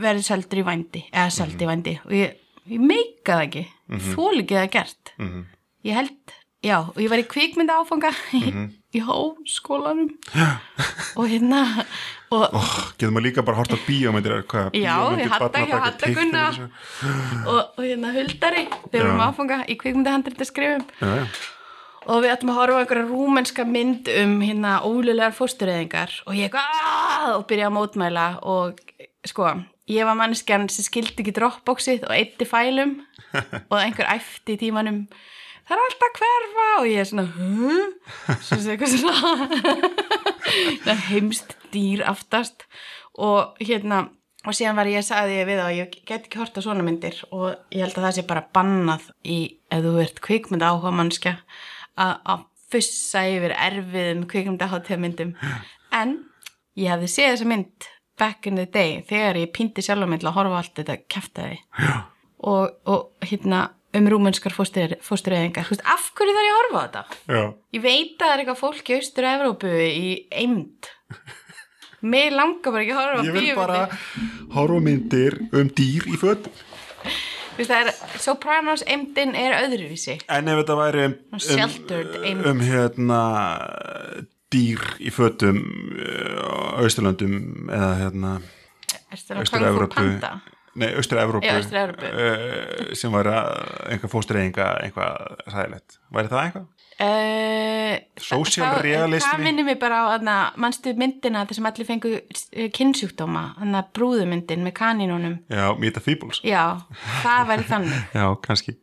D: verður seldur í vændi, eða seldi í vændi og ég, ég meika það ekki, mm -hmm. ekki það gert.
C: mhm.
D: Mm -hmm. Ég held, já, og ég var í kvikmynda áfanga í háskólanum og hérna, og
C: oh, getur maður líka bara hort á bíómyndir eða hvað,
D: Já,
C: bíómyndir,
D: við Hadda
C: barnabækur,
D: hjá Hadda
C: teiknimyndir,
D: Gunna
C: svo.
D: og, og hérna Huldari við vorum
C: Já.
D: áfanga í kvikmyndahandrita skrifum
C: já, já.
D: og við ættum að horfa á einhverja rúmenska mynd um hérna ólulegar fóstureyðingar og ég eitthvað "Ah!" og byrja að mótmæla og sko, ég var manneskjan sem skildi ekki dropboxið og eitti fælum og einhver æfti í tímanum það er alltaf að hverfa og ég er svona "Huh?" svo sé eitthvað svona heimst dýr aftast og hérna og síðan var ég að sagði ég við þá að ég get ekki horta svona myndir og ég held að það sé bara bannað í ef þú ert kvikmynda áhuga mannskja að að fussa yfir erfiðum kvikmynda myndum en ég hafði séð þessa mynd back in the day þegar ég pýndi sjálf mynd til að horfa á allt þetta kæftæði og, og hérna um rúmenskar fóstur, fóstureyðingar Þú veist, af hverju þarf ég að horfa á þetta?
C: Já.
D: Ég veit að það er eitthvað fólk í austur Evrópu í eimd. Mér langar bara ekki að horfa á
C: ég
D: bíómyndir.
C: vil bara horfa á myndir um dýr í föt
D: Þú veist, það er, Sopranos eimdin er öðruvísi.
C: en ef þetta væri um,
D: Svona sheltered
C: um,
D: eymd.
C: um hérna dýr í fötum uh, á Austurlöndum eða hérna
D: Er það
C: Austur
D: Kung Fu
C: Evrópu
D: um Panda?
C: Nei, Austur Evrópu,
D: Já, Austur-Evrópu.
C: uh, sem væri að- einhver fóstureyðinga eitthvað ræðilegt væri það eitthvað?
D: Uh,
C: Social
D: það-
C: realismi.
D: Það minnir mér bara á, þarna, mannstu myndina þar sem allir fengu kynnsjúkdóma, hann að brúðumyndin með kanínunum.
C: Já, Meet the Feebles
D: Já, það væri þannig.
C: Já, kannski,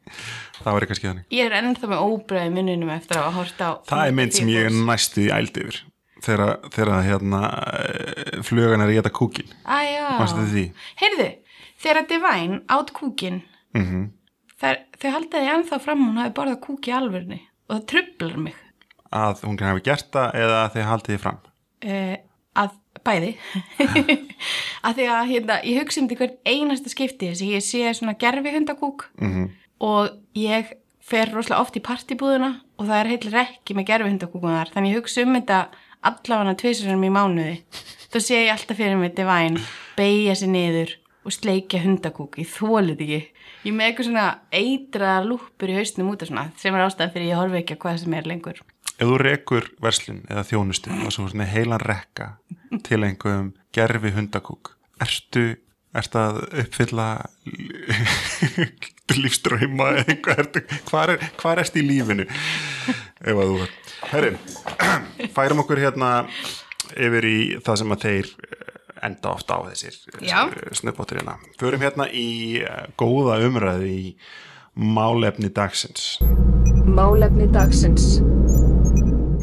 C: það væri kannski þannig
D: Ég er ennþá með óbræði mununum eftir að hafa horta á...
C: Það er mynd sem ég er næstu í ældi yfir þegar, þegar hérna eh, flugan er að geta kúkin
D: Æjá.
C: Manstu eftir því?
D: Heyrðu, þegar Divine át kúkin,
C: Mhm.
D: þær, þau haldaði ennþá fram hún hafi borðað kúk í alvörni og það trublar mig
C: að hún hafi gert það eða að þið haldið þið fram
D: uh, að bæði. að því að hérna, ég hugsa um þetta í hvert einasta skipti þess að ég sé svona gerfi hundakúk -hmm. og ég fer rosalega oft í partibúðuna og það er heil rekki með gerfi hundakúkum þar þannig ég hugsa um þetta allafana tvisarum í mánuði. Þá sé ég alltaf fyrir mig Divine beigja sér niður og sleikja hundakúk, ég þólið ekki. Ég er með eitthvað svona eitraðar lúppur í hausnum út af svona sem er ástæðan fyrir ég horfi ekki að hvað sem er lengur.
C: Ef þú rekur verslun eða þjónustu og svo er heilan rekka til einhverjum gerfi hundakúk ertu, ertu að uppfylla lífströyma eða eitthvað ertu, hvar, er, hvar ertu í lífinu ef að þú er Herri, færum okkur hérna yfir í það sem að þeir eh, enda ofta á þessir
D: Já.
C: snubbóttir hérna. Förum hérna í eh, góða umræði í málefni dagsins
E: Málefni dagsins.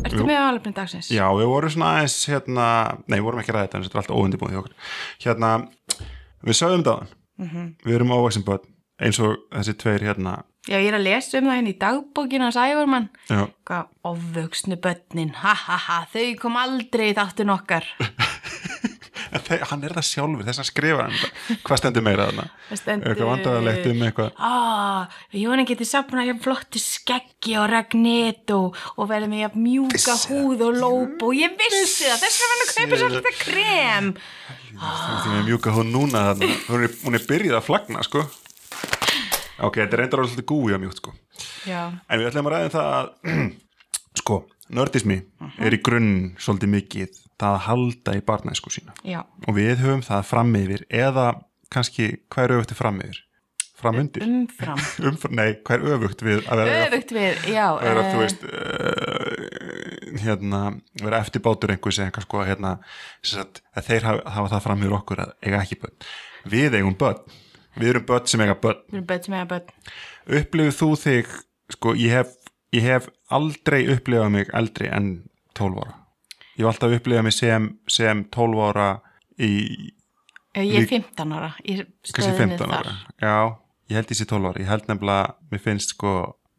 D: Ertu með álefni dagsins?
C: Já, við vorum svona aðeins hérna, nei, við vorum ekki að ræða þetta, en þetta er alltaf óundibúið hjá okkur. Hérna, við sögum þetta mm við erum ávaksin börn, eins og þessi tveir hérna,
D: Já, ég er að lesa um það henni í dagbókinu hans Ævarmann.
C: já,
D: Hvað ofvöksnu börnin, ha ha ha, þau kom aldrei í þáttun okkar.
C: En þe hann er það sjálfur, þess að skrifa hann, þetta. hvað stendur meira þarna?
D: Það stendur-
C: Eitthvað vandrarlegt um eitthvað.
D: Ah, Jóni getið safnað hjá flottu skeggi og ragnet og, og verðið með jafn mjúka húð og lóp og ég vissi það, þess vegna hann kaupið sér alltaf krem.
C: Því með mjúka hún núna þarna, hún er, hún er byrjuð að flagna, sko. Ok, þetta er reyndar alveg svolítið gúi á mjúkt, sko.
D: Já,
C: En við ætlum að ræða um það að sko, nördismi er í grunn svolítið mikið það að halda í barnæsku sína
D: Já.
C: og við höfum það fram yfir eða kannski hver öfugt er fram yfir fram undir
D: umfram
C: umfram, nei, hvað er öfugt við að vera,
D: Um- öfugt við, já
C: að vera þú
D: eh,
C: veist uh, hérna, vera eftirbátur einhvers eða eitthvað sko hérna, sem sagt, að þeir hafa, hafa það fram yfir okkur að eiga ekki börn við eigum börn, við erum börn sem eiga börn
D: við erum börn sem eiga börn
C: upplifið þú þig sko, ég hef, ég hef aldrei upplifað mig eldri en 12 ára ég hef alltaf upplifað mig sem, sem 12 ára í
D: Eh, ég er
C: Lík-
D: 15 ára ég
C: kannski
D: stöðum
C: 15 ára já, ég held ég sé 12 ára, ég held nefnilega mér finnst sko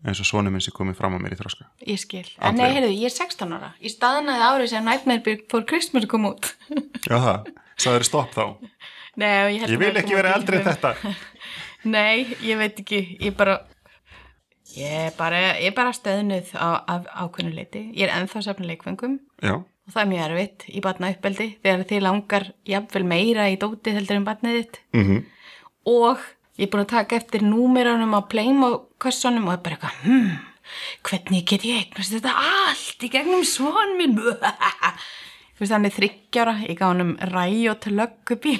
C: eins og sonum minn sem komið fram á mér í þroska
D: ég skil,
C: Aldrei.
D: en nei, heyrðu, ég er 16 ára ég staðnaði árið sem Nightmare for Christmas kom út
C: já það, það er stopp þá
D: nei, ég, held
C: Ég
D: að
C: vil
D: það
C: ekki
D: kom
C: vera
D: út í
C: eldri en
D: fimm.
C: þetta
D: Nei, ég veit ekki, ég bara ég er bara, ég er bara stöðnuð á, af ákveðnu leiti ég er ennþá safnir leikfengum
C: Já,
D: og það er mjög erfitt í batna uppeldi þegar þið langar jafnvel meira í dótið heldur en batnið þitt -hmm. og ég er búin að taka eftir númerunum á pleim og kössunum og er bara eitthvað hmm, hvernig get ég eignast þetta allt í gegnum svon minn Þú veist, hann er þryggjara, ég gaf honum ræjót löggubí.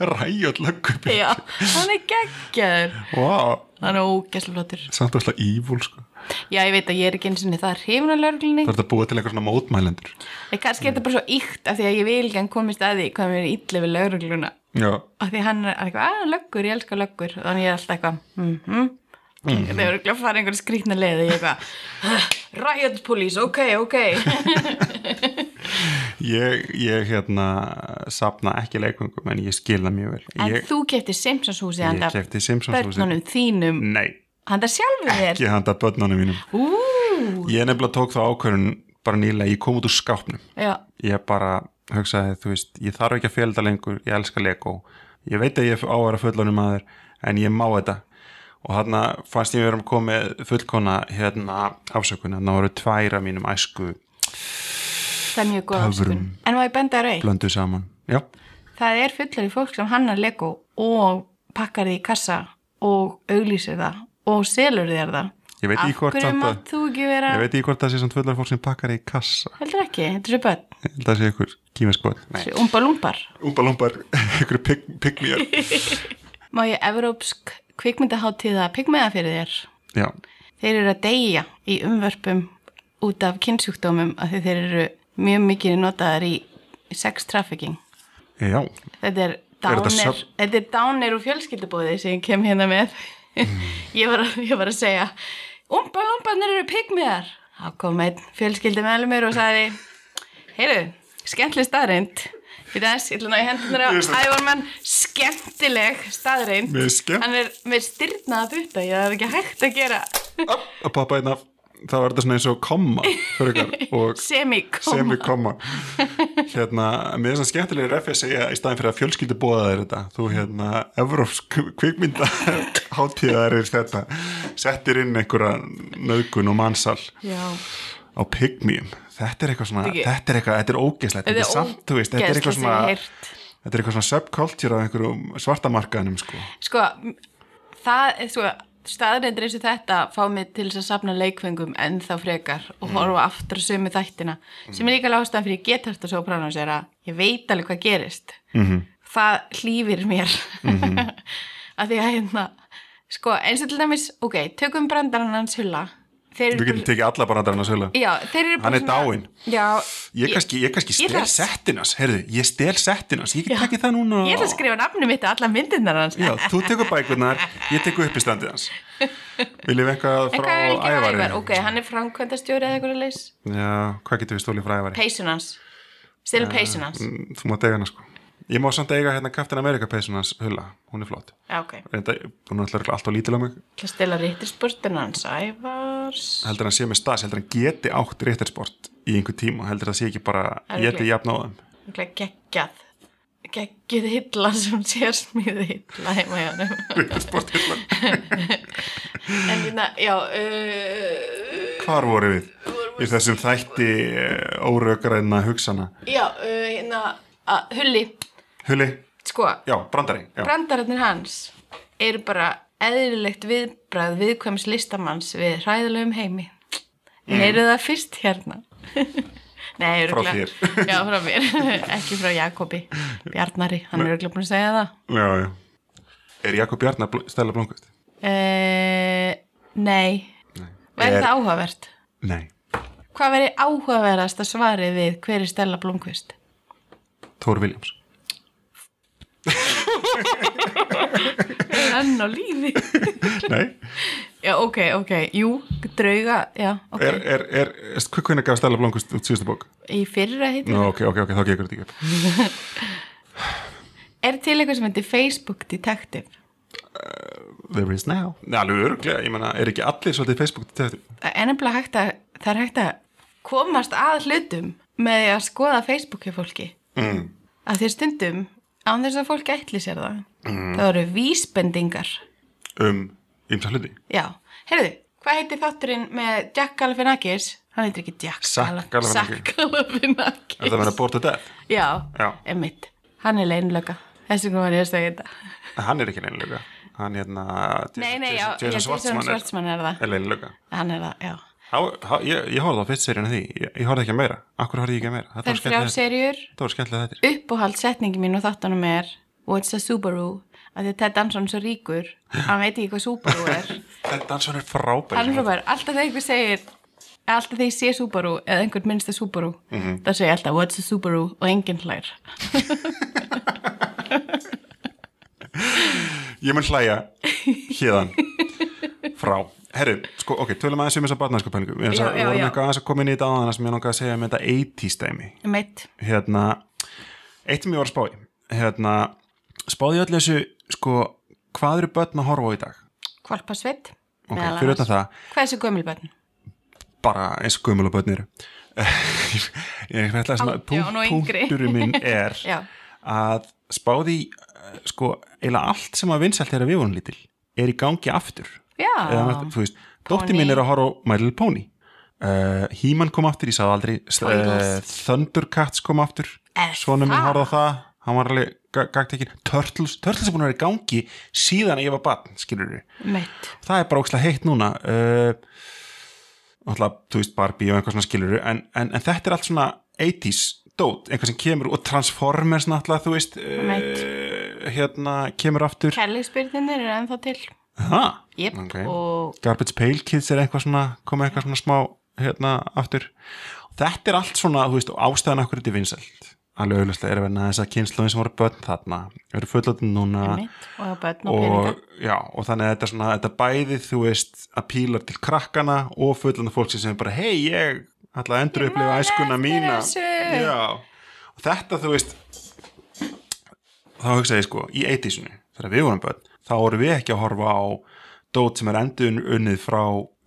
C: ræjótt löggubi
D: Já, hann er geggjaður.
C: Vá,
D: Hann er ógæslega flottur.
C: samt alltaf ívúl sko
D: Já, ég veit að ég er ekki eins og það hrifin að lörglunni.
C: Það er að búa til eitthvað svona mótmælendur
D: En kannski er þetta bara svo íkt af því að ég vil ekki hann komist að því hvað mér er illa við lörgluna.
C: Já,
D: Af því hann er eitthvað, að löggur, ég elska löggur. Og þannig ég er alltaf eitthvað, mhm. Mm Það eru ekki að fara einhverja skrýtna leið og ég er eitthvað, "Ah, riot police, ok, ok.
C: ég, ég hérna sapna ekki leikvöngum en ég skil það mjög vel
D: En
C: Ég,
D: þú kefti Simpsons húsið
C: ég
D: handa
C: kefti Simpsons húsið.
D: börnunum þínum,
C: nei,
D: handa sjálfum þér.
C: ekki handa börnunum mínum
D: Ú,
C: Ég nefnilega tók þá ákvörun bara nýlega, ég kom út úr skápnum
D: já,
C: Ég bara hugsaði, þú veist, ég þarf ekki að fjölda lengur ég elska Lego, ég veit að ég á að vera fullonum maður, en ég má þetta og þarna fannst ég verið að koma með fullkona hérna afsökun, þannig voru tværa mínum æsku
D: það er mjög góð
C: Töfrum.
D: áskun. En má ég benda rauð?
C: blöndu saman, já,
D: Það er fullar í fólk sem hannar Lego og pakkar því í kassa og auglýsir það og selur þér það.
C: Ég veit í hvort
D: Af hverju
C: samt að-
D: mátt þú ekki vera,
C: ég veit ekki hvort það sé samt fullar fólk sem pakkar í kassa,
D: heldur ekki, þetta er svo börn,
C: Ég held að það sé ykkur kímaskot,
D: þessu umbalumbar.
C: umbalumbar ykkur pygmýjar
D: Má ég evrópsk kvikmyndaháttíða pigmeða fyrir þér?
C: já,
D: Þeir eru að deyja í umvörpum út af kynnsjúkdómum af því þeir eru mjög mikið notaðar í sex trafficking.
C: já,
D: Þetta er
C: þetta
D: dánir,
C: söfn?
D: þetta er dánir úr fjölskyldubóði sem ég kem hérna með.
C: Mm.
D: ég, var, að- ég var að segja, umba, umbanir eru pygmiðar. Þá kom einn fjölskyldi með mér og sagði, heyru, skemmtileg staðreind. Fyrir þess, ég ætla að ná í hendurnar á ævormann, skemmtileg staðreind.
C: Mér er skemmt.
D: Hann er með styrnaða butta, ég það er ekki hægt að gera
C: að pappa einna það var þetta svona eins og komma fyrir ykkar og
D: semikoma.
C: sem við koma hérna, mér er svona skemmtilega refi að segja í staðin fyrir að fjölskyldu bóða þér þetta þú hérna, evrópsk kvikmynda hátíðar er þetta settir inn einhverja nöðgun og mannsal
D: Já,
C: á pygmjum þetta er eitthvað svona,
D: Ekki.
C: þetta er eitthvað, þetta er ógeðslegt þetta er samt, þú veist, þetta er eitthvað
D: ógeðslegt sem
C: svona
D: ég heyrt.
C: þetta er eitthvað svona subculture á einhverjum svartamarkaðinum sko,
D: sko, m- það er sko staðrindir eins og þetta fá mig til þess að safna leikfengum en þá frekar
C: Mm.
D: og horfa aftur á sömu þættina sem er líka lástaðan fyrir getart og svo pránans er að ég veit alveg hvað gerist
C: Mhm.
D: -hmm. það hlýfir mér að því að hérna sko eins og til dæmis, ok, tökum brandarann hans hulla þeir
C: við
D: eru
C: getum tekið alla barandarinn að sögla
D: já, þeir eru bara
C: Hann er
D: svona-
C: dáinn.
D: já,
C: ég kannski, ég kannski
D: ég
C: stel
D: þarf-
C: settinas, heyrðu, ég stel settinas ég
D: Já.
C: get tekið það núna
D: ég ætla að skrifa nafnum mitt að alla myndirnar hans
C: Já, þú tekur bækurnar, ég tekur uppistandið hans. Viljum við eitthvað
D: en
C: frá
D: hvað er ekki
C: ævari?
D: ævar? ok, hann er framkvæmdastjóri eða eitthvað leys
C: Já, hvað getur við stólið frá ævari?
D: peysun hans stelur peysun hans
C: Mm, Þú mátt eiga hana sko. Ég má samt eiga hérna Captain America peysun hans hulla, hún er flott.
D: já ok,
C: Reynda, hún er alltaf allt á lítil á mig.
D: ætla að stela réttirspurtun hans ævars
C: Heldur hann sé með stas, heldur hann geti átt réttarsport í einhver tíma, heldur það sé ekki bara
D: Er
C: ég
D: ekki.
C: til jafn á þeim.
D: Örugglega geggjað geggjuð hilla sem sér smíði hilla heima hjá hann
C: Réttarsport hulla.
D: en hérna, já uh,
C: Hvar voru við? Í þessum þætti eh, órökræna hugsana.
D: já, uh, hérna að, hulli,
C: Hulli,
D: sko
C: já, brandari. Já.
D: brandararnir hans eru bara eðlilegt viðbræð viðkvæms listamanns við hræðilegum heimi mm. Neyru það fyrst hérna Nei,
C: Frá
D: örugglega- Já, frá mér, ekki frá Jakobi Bjarnari, hann er örugglega búin að segja það
C: já, já. Er Jakob Bjarnar bl stæla blómkvæsti?
D: uh, Nei, væri
C: Er-
D: það áhugavert
C: Nei,
D: Hvað væri áhugaverðast að svari við hver er Stella Blomqvist?
C: Tóri Williams
D: Er hann á lífi?
C: Nei,
D: já, ok, ok, jú, drauga, já, ok
C: er, er, er, er hvernig gaf stæla blómkvæst út síðustu bók?
D: Í fyrra heitir
C: Nú, ok, ok, ok, þá gekur þetta ekki upp
D: Er til eitthvað sem heitir Facebook Detective?
C: There is now Nei, alveg örglega, ég meina, er ekki allir svolítið Facebook detektiv?
D: Það er nefnilega hægt að, það er hægt að komast að hlutum með því að skoða Facebooki fólki. Mm. Að því stundum, án þess að fólk ætli sér það,
C: Mhm.
D: mm. það eru vísbendingar.
C: um ymsa hluti
D: Já, heyrðu, hvað heitir þátturinn með Jack Galifianakis? Hann heitir ekki Jack
C: Zach
D: Gala-
C: Galifianakis.
D: Zach Galifianakis.
C: Er það að vera Bored to Death?
D: Já,
C: Já.
D: emitt. Hann er leinlöka. Þessi kom hann ég að segja þetta.
C: Nei, Hann er ekki leinlega Hann hérna Jason-
D: Nei, nei, já,
C: Jason-
D: já,
C: Jason
D: Jason
C: Schwartzman er,
D: Svartsmann er það.
C: er leinlega
D: Hann er það, já.
C: Ég, ég horfði á fyrst seríun af því Ég, ég horfði ekki að meira Akkur horfði ég ekki að meira Þetta var
D: Það er þrjá
C: skemmtilega þetta
D: serjur.
C: Þetta var skemmtilega þetta
D: uppáhald setningi mín og þáttunum er What's a Subaru? Af því að Ted Danson er svo ríkur, hann veit ekki hvað Subaru er.
C: Þetta dansan er frábær
D: hann er bara, alltaf þegar einhver segir, alltaf þegar ég sé Subaru eða einhvern minnst að Subaru,
C: Mhm.
D: það segir ég alltaf What's a Subaru og enginn hlær.
C: Ég mun hlæja Hérðan Frá Herru, sko, ok, tölum aðeins um þessa barnarskapælingu Við
D: Já, já,
C: vorum
D: já.
C: eitthvað aðeins að koma inn í þetta áðan sem ég langaði að segja um þetta 80s dæmi
D: Meitt,
C: hérna, eitt sem ég var að spá í hérna, spáði öll þessu sko, hvað eru börn að horfa á í dag
D: kvalpa sveitt.
C: ok, fyrir utan það,
D: Hvað er þessi gömulbönn?
C: bara eins og gömul og börn eru ég, ég ætla að svona,
D: Átján og
C: punkt-
D: yngri.
C: punkturinn minn er
D: Já.
C: að spáði sko, eiginlega allt sem að vinsælt er að við vorum lítil er í gangi aftur
D: Já.
C: Eða, þú veist, dóttir minn er að horfa á My Little Pony uh, He-Man kom aftur, ég sagði aldrei uh,
D: Turtles.
C: Thundercats kom aftur
D: Er
C: Svona minn
D: það?
C: horfði á það hann var alveg ga- gagt ekki Turtles, Turtles er búin að vera í gangi síðan að ég var barn, skilur við
D: Meitt.
C: það er bara ókslega heitt núna uh, alltaf, þú veist, Barbie og eitthvað svona skilur en, en, en þetta er allt svona 80s dót, einhvað sem kemur og Transformers náttúrulega, þú veist uh,
D: Meitt.
C: hérna, kemur aftur
D: Kærleikspyrðinir eru ennþá til.
C: ha,
D: Jep,
C: Ok.
D: og
C: Garbage Pail Kids er eitthvað svona komið eitthvað svona smá hérna aftur þetta er allt svona, þú veist, og ástæðan akkur þetta er vinsælt alveg auðvitað er að verna þess að kynnslóðin sem voru börn þarna eru fullotinn núna
D: mitt, um og bönn og, peninga.
C: og, já, og þannig að þetta, er svona, þetta bæði þú veist að pílar til krakkana og fullanda fólksins sem er bara hei ég ætla að endur upplifa
D: man
C: æskuna
D: eftir
C: mína
D: þessu.
C: já, og þetta þú veist þá hugsa ég sko í 80-sinu þegar við vorum börn þá vorum við ekki að horfa á dót sem er endur unnið frá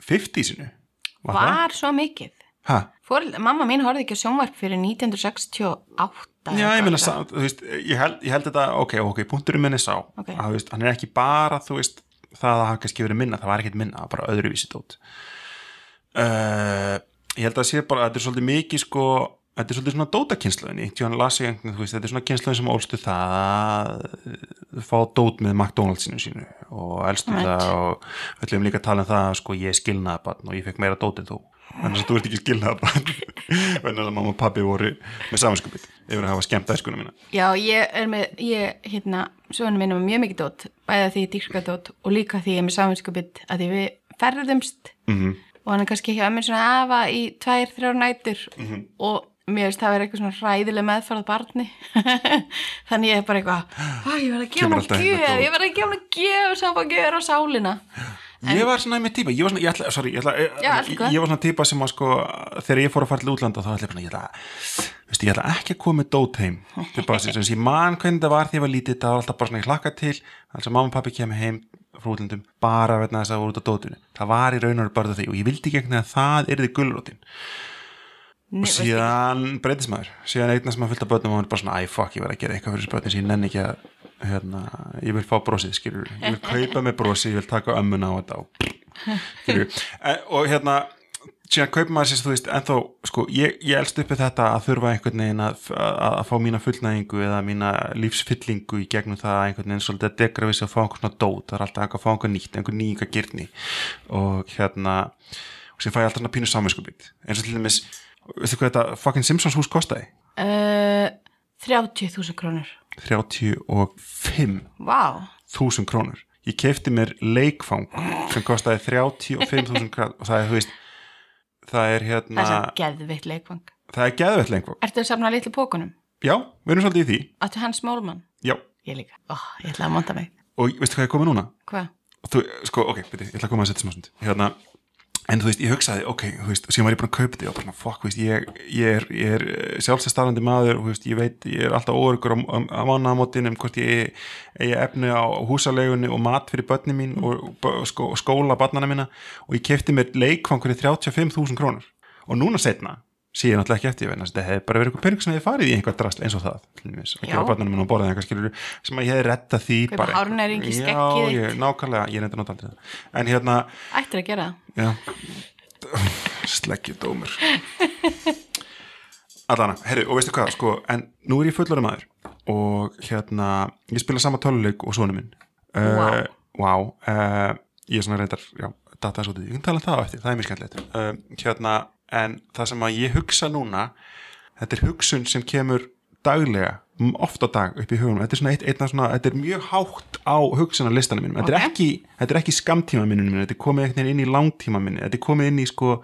C: 50-sinu
D: Var svo mikið.
C: það?
D: Fóreldra, mamma mín horfði ekki á sjónvarp fyrir 1968.
C: Já, ég
D: eitthvað
C: meina,
D: svona.
C: sa- þú veist, ég held, ég held þetta, ok, ok, punkturinn minni sá
D: Ok.
C: að, þú veist, hann er ekki bara, þú veist það að hafa kannski verið minna, það var ekkert minna það var bara öðruvísi dót uh, ég held að sé bara, þetta er svolítið mikið sko, þetta er svolítið svona dótakynsluðinni, tjóðan las ég einhvern, þú veist, þetta er svona kynsluðin sem ólstu það að fá dót með McDonaldsinu sínu og elstu
D: Right.
C: það og við ætlum líka að tala um það að sko ég er skilnaðabann og ég fekk meira dót en þú þannig að þú ert ekki skilnaðabann þannig að mamma og pabbi voru með samanskupið yfir að hafa skemmt æskuna mína
D: Já, ég er með, ég, hérna, svona minn er með mjög mikið dót, bæði að því ég dýrka dót og líka því ég er með saminskupið að því við ferðumst
C: Mhm.
D: -hmm. og hann er kannski hjá mér svona afa í tvær, þrjár nætur
C: Mhm.
D: -hmm. og mér veist það er eitthvað svona ræðileg meðfarað barni þannig ég er bara eitthvað, "Æ, ég verð að gefa
C: Kemur
D: hann
C: alltaf
D: að
C: heim með
D: gjöf,
C: dót."
D: ég verð að gefa hann að gjöf sem hann gjöf á sálina.
C: Ég var svona með típa, ég var svona, ég ætla, sorry, ég ætla,
D: Já, allt í
C: ég,
D: góðu.
C: ég var svona típa sem að sko, þegar ég fór að fara til útlanda þá ætla ég bara svona, ég ætla, veistu, ég ætla ekki að koma með dót heim, til bara sem ég man hvernig það var þegar ég var lítið, það var alltaf bara svona ég hlakka til, alveg mamma og pappi kemur heim frá útlandum, bara vegna þess að það voru út á dótinu, það var í raun og veru bara því og ég vildi gegn að það yrði gullrótin
D: Nei,
C: og
D: veist
C: síðan breytist maður síðan eignast maður fyllt af börnum og maður er bara svona æ, fuck, ég verð að gera eitthvað fyrir þessu börnum sem ég nenni ekki að hérna, ég vil fá brosið, skilur ég vil kaupa með brosið, ég vil taka ömmuna á þetta og, skilur, og Eh, hérna síðan kaupir maður sér, þú veist, ennþá sko, ég, ég elst uppi þetta að þurfa einhvern veginn að, að, að fá mína fullnæðingu eða mína lífsfyllingu í gegnum það að einhvern veginn svolítið að degra við sér að fá einhvern svona dót, það er alltaf einhver að fá einhvern nýtt, einhvern nýjinga gyrni og hérna, og sem fæ ég alltaf svona pínu saminskupið, eins og til dæmis veistu hvað þetta fucking Simpsons hús kostaði?
D: Uh, 30.000 krónur.
C: 35
D: Vá,
C: þúsund krónur ég kefti mér leikfang sem kostaði 35.000 krónur og það er, þú veist það er hérna,
D: það er sem geðvitt leikvang.
C: það er geðvett leikfang
D: Ertu að safna litlu pókunum?
C: já, við erum svolítið í því,
D: Áttu hans mólmann?
C: já
D: Ég líka. Ó, ég ætla að monta mig.
C: og veistu hvað er komið núna?
D: Hvað?
C: þú, sko, ok, beti, ég ætla að koma að setja smá stund hérna, en þú veist, ég hugsaði, ok þú veist, og síðan var ég búin að kaupa þetta, ég var bara, svona, fuck, þú veist ég, ég er, ég er sjálfsestarandi maður og, þú veist, ég veit, ég er alltaf óörgur á, á, á mánamótin um hvort ég eigi efni á húsalegunni og mat fyrir börnin mín og, og, og, sko, og skóla barnana mína og ég kefti mér leikfangur í 35.000 krónur og núna setna sé ég náttúrulega ekki eftir, ég veit, þetta hefði bara verið eitthvað pening sem hefði farið í einhver drast eins og það til dæmis, að
D: Já.
C: gera barnanum minn á borðið eitthvað skilur sem að ég hefði retta því
D: Kaupa
C: bara eitthvað.
D: hárnæring í
C: Já,
D: skeggið
C: ég, nákvæmlega, ég nefndi að nota aldrei það en hérna,
D: Ættir að gera það.
C: já sleggju dómur allana, herru, og veistu hvað sko, en nú er ég fullari maður og hérna, ég spila sama töluleik og sonu minn
D: Vá.
C: wow. uh, ég er svona reyndar já, data svo því, ég kan tala um það á eftir, það er mjög skemmtilegt uh, hérna, en það sem að ég hugsa núna þetta er hugsun sem kemur daglega m- oft á dag upp í hugunum þetta er, svona eitt, einna svona, þetta er mjög hátt á hugsunar listanum mínum þetta, er
D: Ok.
C: ekki, þetta er ekki skamtíma minnum minn þetta er komið einhvern veginn inn í langtíma minni þetta er komið inn í sko uh,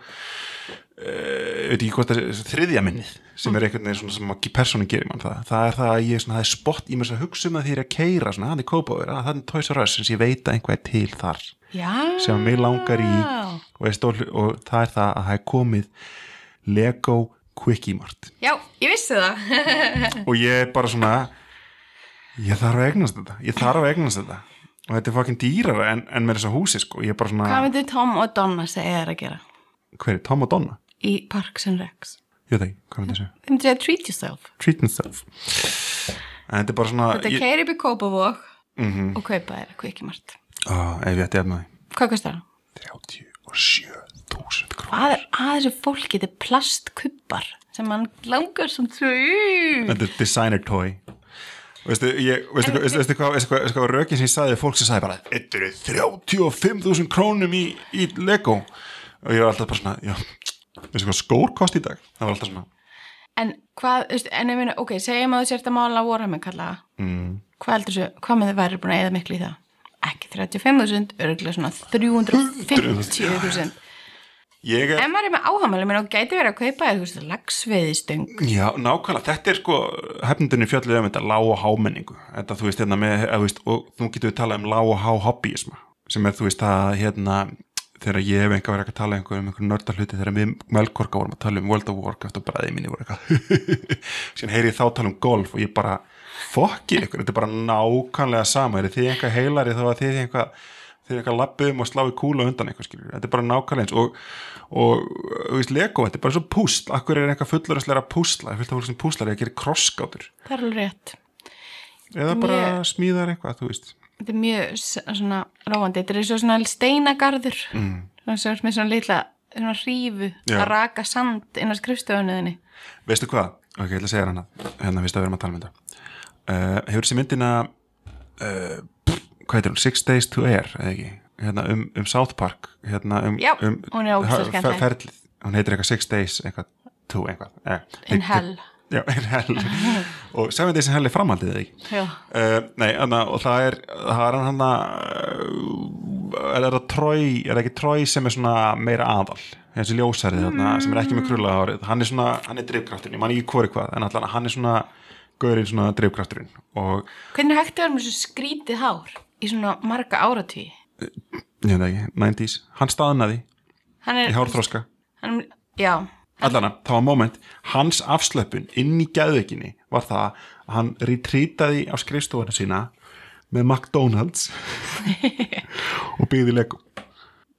C: veit ekki hvort það er þriðja minnið
D: Mm.
C: sem er einhvern veginn svona sem ekki persónu gerir mann það það er það að ég svona, það er spott í mér að hugsa um að því ég er að keira svona, hann er kópaður, að það er tóis og röss sem ég veit að einhvað er til þar
D: Já.
C: sem mig langar í og, er stól, og það er það að það er komið Lego Quickie Mart
D: Já, ég vissi það. Mm.
C: og ég er bara svona ég þarf að eignast þetta ég þarf að eignast þetta og þetta er fucking dýrara en, en með þessa húsi sko ég er bara svona,
D: Hvað myndir Tom og Donna segja er að gera
C: hver er Tom og Donna?
D: í Parks and Recs?
C: ég veit ekki, hvað myndi þessu?
D: Þeim myndir segja treat yourself.
C: Treat myself en þetta er bara svona
D: Þetta
C: ég, Mhm.
D: keiri upp í Kópavók og kaupa þér kvikimart.
C: ó, Ah, ef ég ætti efna
D: Hvað kostar það?
C: því 37.000
D: Að,
C: krónur
D: að þessu fólki, þetta er plastkubbar sem hann langar sem þau.
C: þetta er designer toy veistu, ég, veistu, hvað, veistu, veistu, hvað, veistu, hvað, veistu hvað rökin sem ég sagði við fólk sem sagði bara þetta eru 35.000 krónum í, í Lego og ég var alltaf bara svona já, veistu hvað skór kosti í dag það var alltaf svona
D: En hvað, þú veist, en ég meina, ok, segjum að þú sért að mála Warhammer kalla. Mm. Hvað heldur þessu, hvað með þið væri búin að eða miklu í það? Ekki 35.000, örgulega svona 350.000.
C: ég er
D: Ef maður er með áhamæli, menn og gæti verið að kaupa þér, þú veist, lagsveiðistöng.
C: Já, nákvæmlega, þetta er sko hefnindunni fjallið um þetta lág og hámenningu þetta þú veist, hérna með, eða, þú veist, og nú getum við talað um lág og há hobbyisma sem er þú veist að, hérna þegar ég hef einhver verið að tala um einhver um einhver nörda hluti þegar við melkorka vorum að tala um World of Warcraft og bræði minni voru eitthvað síðan heyri ég þá tala um golf og ég bara fokki ykkur, þetta er bara nákvæmlega sama er þið einhver heilari þá að þið einhver þeir eitthvað lappa um og slá í kúla undan eitthvað skilur, þetta er bara nákvæmleins og, og, þú veist, Lego, þetta er bara svo púsl akkur er eitthvað fullurastlega að púsla það er fullt af fólk sem púslar eða gerir krossgátur
D: Það er alveg rétt.
C: eða bara
D: Mjög-
C: smíðar eitthvað, þú veist
D: Þetta er mjög s- svona róandi. Þetta er eins og svona steinagarður. Mm. Svona sem er með svona litla svona hrífu
C: Já.
D: að raka sand inn á skrifstofunniðinni.
C: veistu hvað, ok, ég ætla að segja þér hana hérna, veistu að við erum að tala um þetta uh, hefur þessi myndina uh, pff, hvað heitir hún, Six Days to Air eða ekki, hérna um, um South Park hérna um,
D: Já,
C: um
D: hún er ógeðslega
C: fer-
D: skemmtileg.
C: ferlið, hún heitir eitthvað Six Days eitthvað, to eitthvað eh,
D: In hell.
C: já, in hell og seven days in hell er framhaldið eða ekki
D: Já.
C: Uh, nei, anna, og það er það er hann hann er það trói, er það ekki trói sem er svona meira aðal þessi ljósarið þarna sem er ekki með krulla árið hann er svona, hann er drifkrafturinn, ég man ekki hvori hvað en allan hann er svona, gaurinn svona drifkrafturinn og,
D: Hvernig er hægt að vera með svona skrítið hár í svona marga áratví?
C: ég veit það ekki, 90s hann staðnaði
D: Hann er...
C: í hárþróska
D: Hann, já.
C: allana, það var moment hans afslöpun inn í gæðveikinni var það að hann retreataði á skrifstofana sína með McDonalds og byggði legum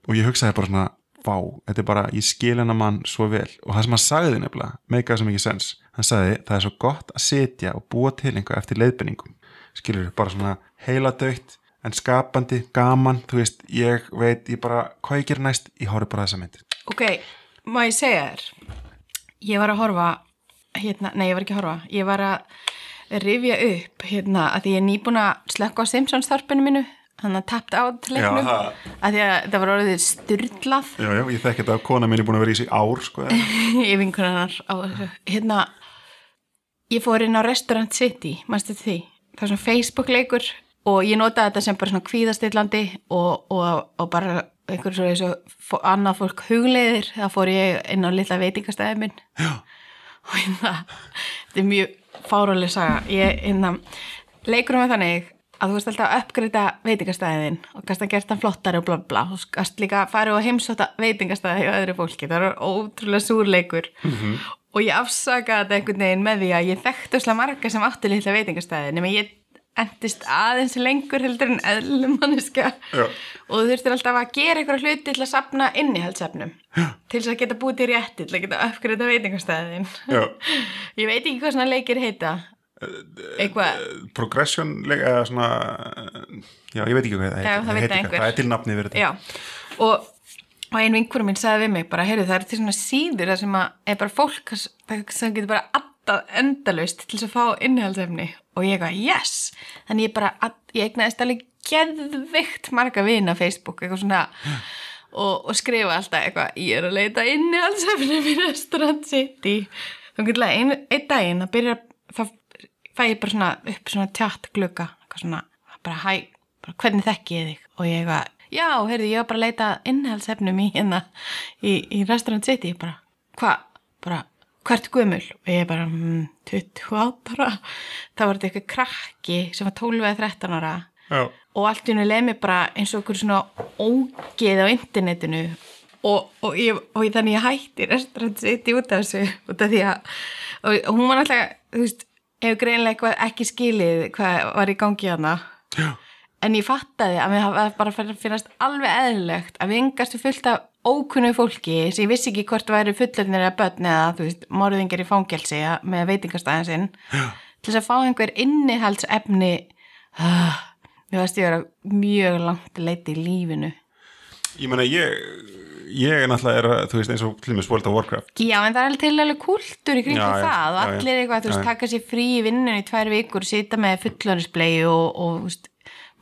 C: og ég hugsaði bara svona vá, þetta er bara, ég skil hennar mann svo vel og það sem hann sagði nefnilega make það sem ekki sens, hann sagði það er svo gott að sitja og búa til einhver eftir leiðbenningum skilur bara svona heiladaukt en skapandi, gaman, þú veist ég veit, ég bara, hvað ég ger næst ég horf bara á þessa mynd
D: Ok, má ég segja þér ég var að horfa hérna, nei ég var ekki að horfa ég var að rifja upp hérna, að því ég er nýbúin að slökka á Simpsons þarpinu mínu þannig að tappt á leiknum
C: það-
D: að því að það var orðið styrlað
C: Já, já, ég þekki þetta að kona minni búin að vera í sig ár, sko.
D: í vinkunarnar á þessu hérna, ég fór inn á Restaurant City, mannstu því það er svona Facebook leikur og ég notaði þetta sem bara svona kvíðastillandi og, og, og bara einhver svo eins og fó- annað fólk hugleiðir það fór ég inn á litla veitingastæði minn Já. og hérna þetta er mjög fáróleg saga ég hérna, leikurum með þannig að þú veist alltaf að uppgreita veitingastæðin og gasta gert hann flottari og bla bla og gasta líka að fara og heimsóta veitingastæði og öðru fólki, það er ótrúlega súrleikur -hmm. og ég afsakaði þetta einhvern veginn með því að ég þekkti óslega marga sem áttu litla veitingastæði nema ég endist aðeins lengur heldur en eðlum manneska og þú þurftir alltaf að gera einhverja hluti til að sapna innihaldsefnum til þess að geta búið til rétti til að geta uppgreita veitingastæðin
C: Já.
D: ég veit ekki hvað svona leikir heita eitthvað
C: Progression, eða svona, já, ég veit ekki hvað það heitir.
D: Já, það veit
C: heitir eitthvað.
D: það einhver.
C: Það er til nafni verið þetta.
D: Já, og, og ein vinkur minn sagði við mig bara, heyrðu það er til svona síður það sem að er bara fólk sem sem getur bara addað endalaust til þess að fá innihaldsefni og ég eitthvað, yes þannig ég bara, add- ég eignaðist alveg geðvikt marga vina á Facebook, eitthvað svona og, og skrifa alltaf eitthvað, ég er að leita innihaldsefni í Restaurant City þá getur það ein, einn daginn það byrjar, þá fæ ég bara svona upp svona tjátt glugga, eitthvað svona bara hæ, bara, hvernig þekki ég þig og ég eitthvað, já, heyrðu, ég var bara að leita innhaldsefnum í hérna í, í restaurant city, bara, hva bara, hvert gömul og ég bara, mm, 28 ára þá var þetta eitthvað krakki sem var 12 eða 13 ára
C: Já.
D: og allt í hennu leið mér bara eins og okkur svona ógeð á internetinu og, og, ég, og ég, þannig ég hætti restaurant city út af þessu út af því að og, og hún var náttúrulega, þú veist hefur greinlega eitthvað ekki skilið hvað var í gangi hana en ég fattaði að mér hafði bara farið að finnast alveg eðlilegt að vingastu fullt af ókunnu fólki sem ég vissi ekki hvort væri fullöðnir eða börn eða þú veist, morðingar í fangelsi eða- með veitingastæðin sinn til þess að fá einhver innihaldsefni ah, mér varst ég að vera mjög langt leiti í lífinu
C: Ég meina, ég, ég er náttúrulega, er, að- þú veist, eins og til og með World of Warcraft.
D: Já, en það er alveg til alveg kúltur í kringum
C: Já, já,
D: það og
C: já, já.
D: allir eitthvað, þú veist,
C: Já, já.
D: taka sér frí í vinnunni í tvær vikur, sita með fullorðisblei og, og þú veist,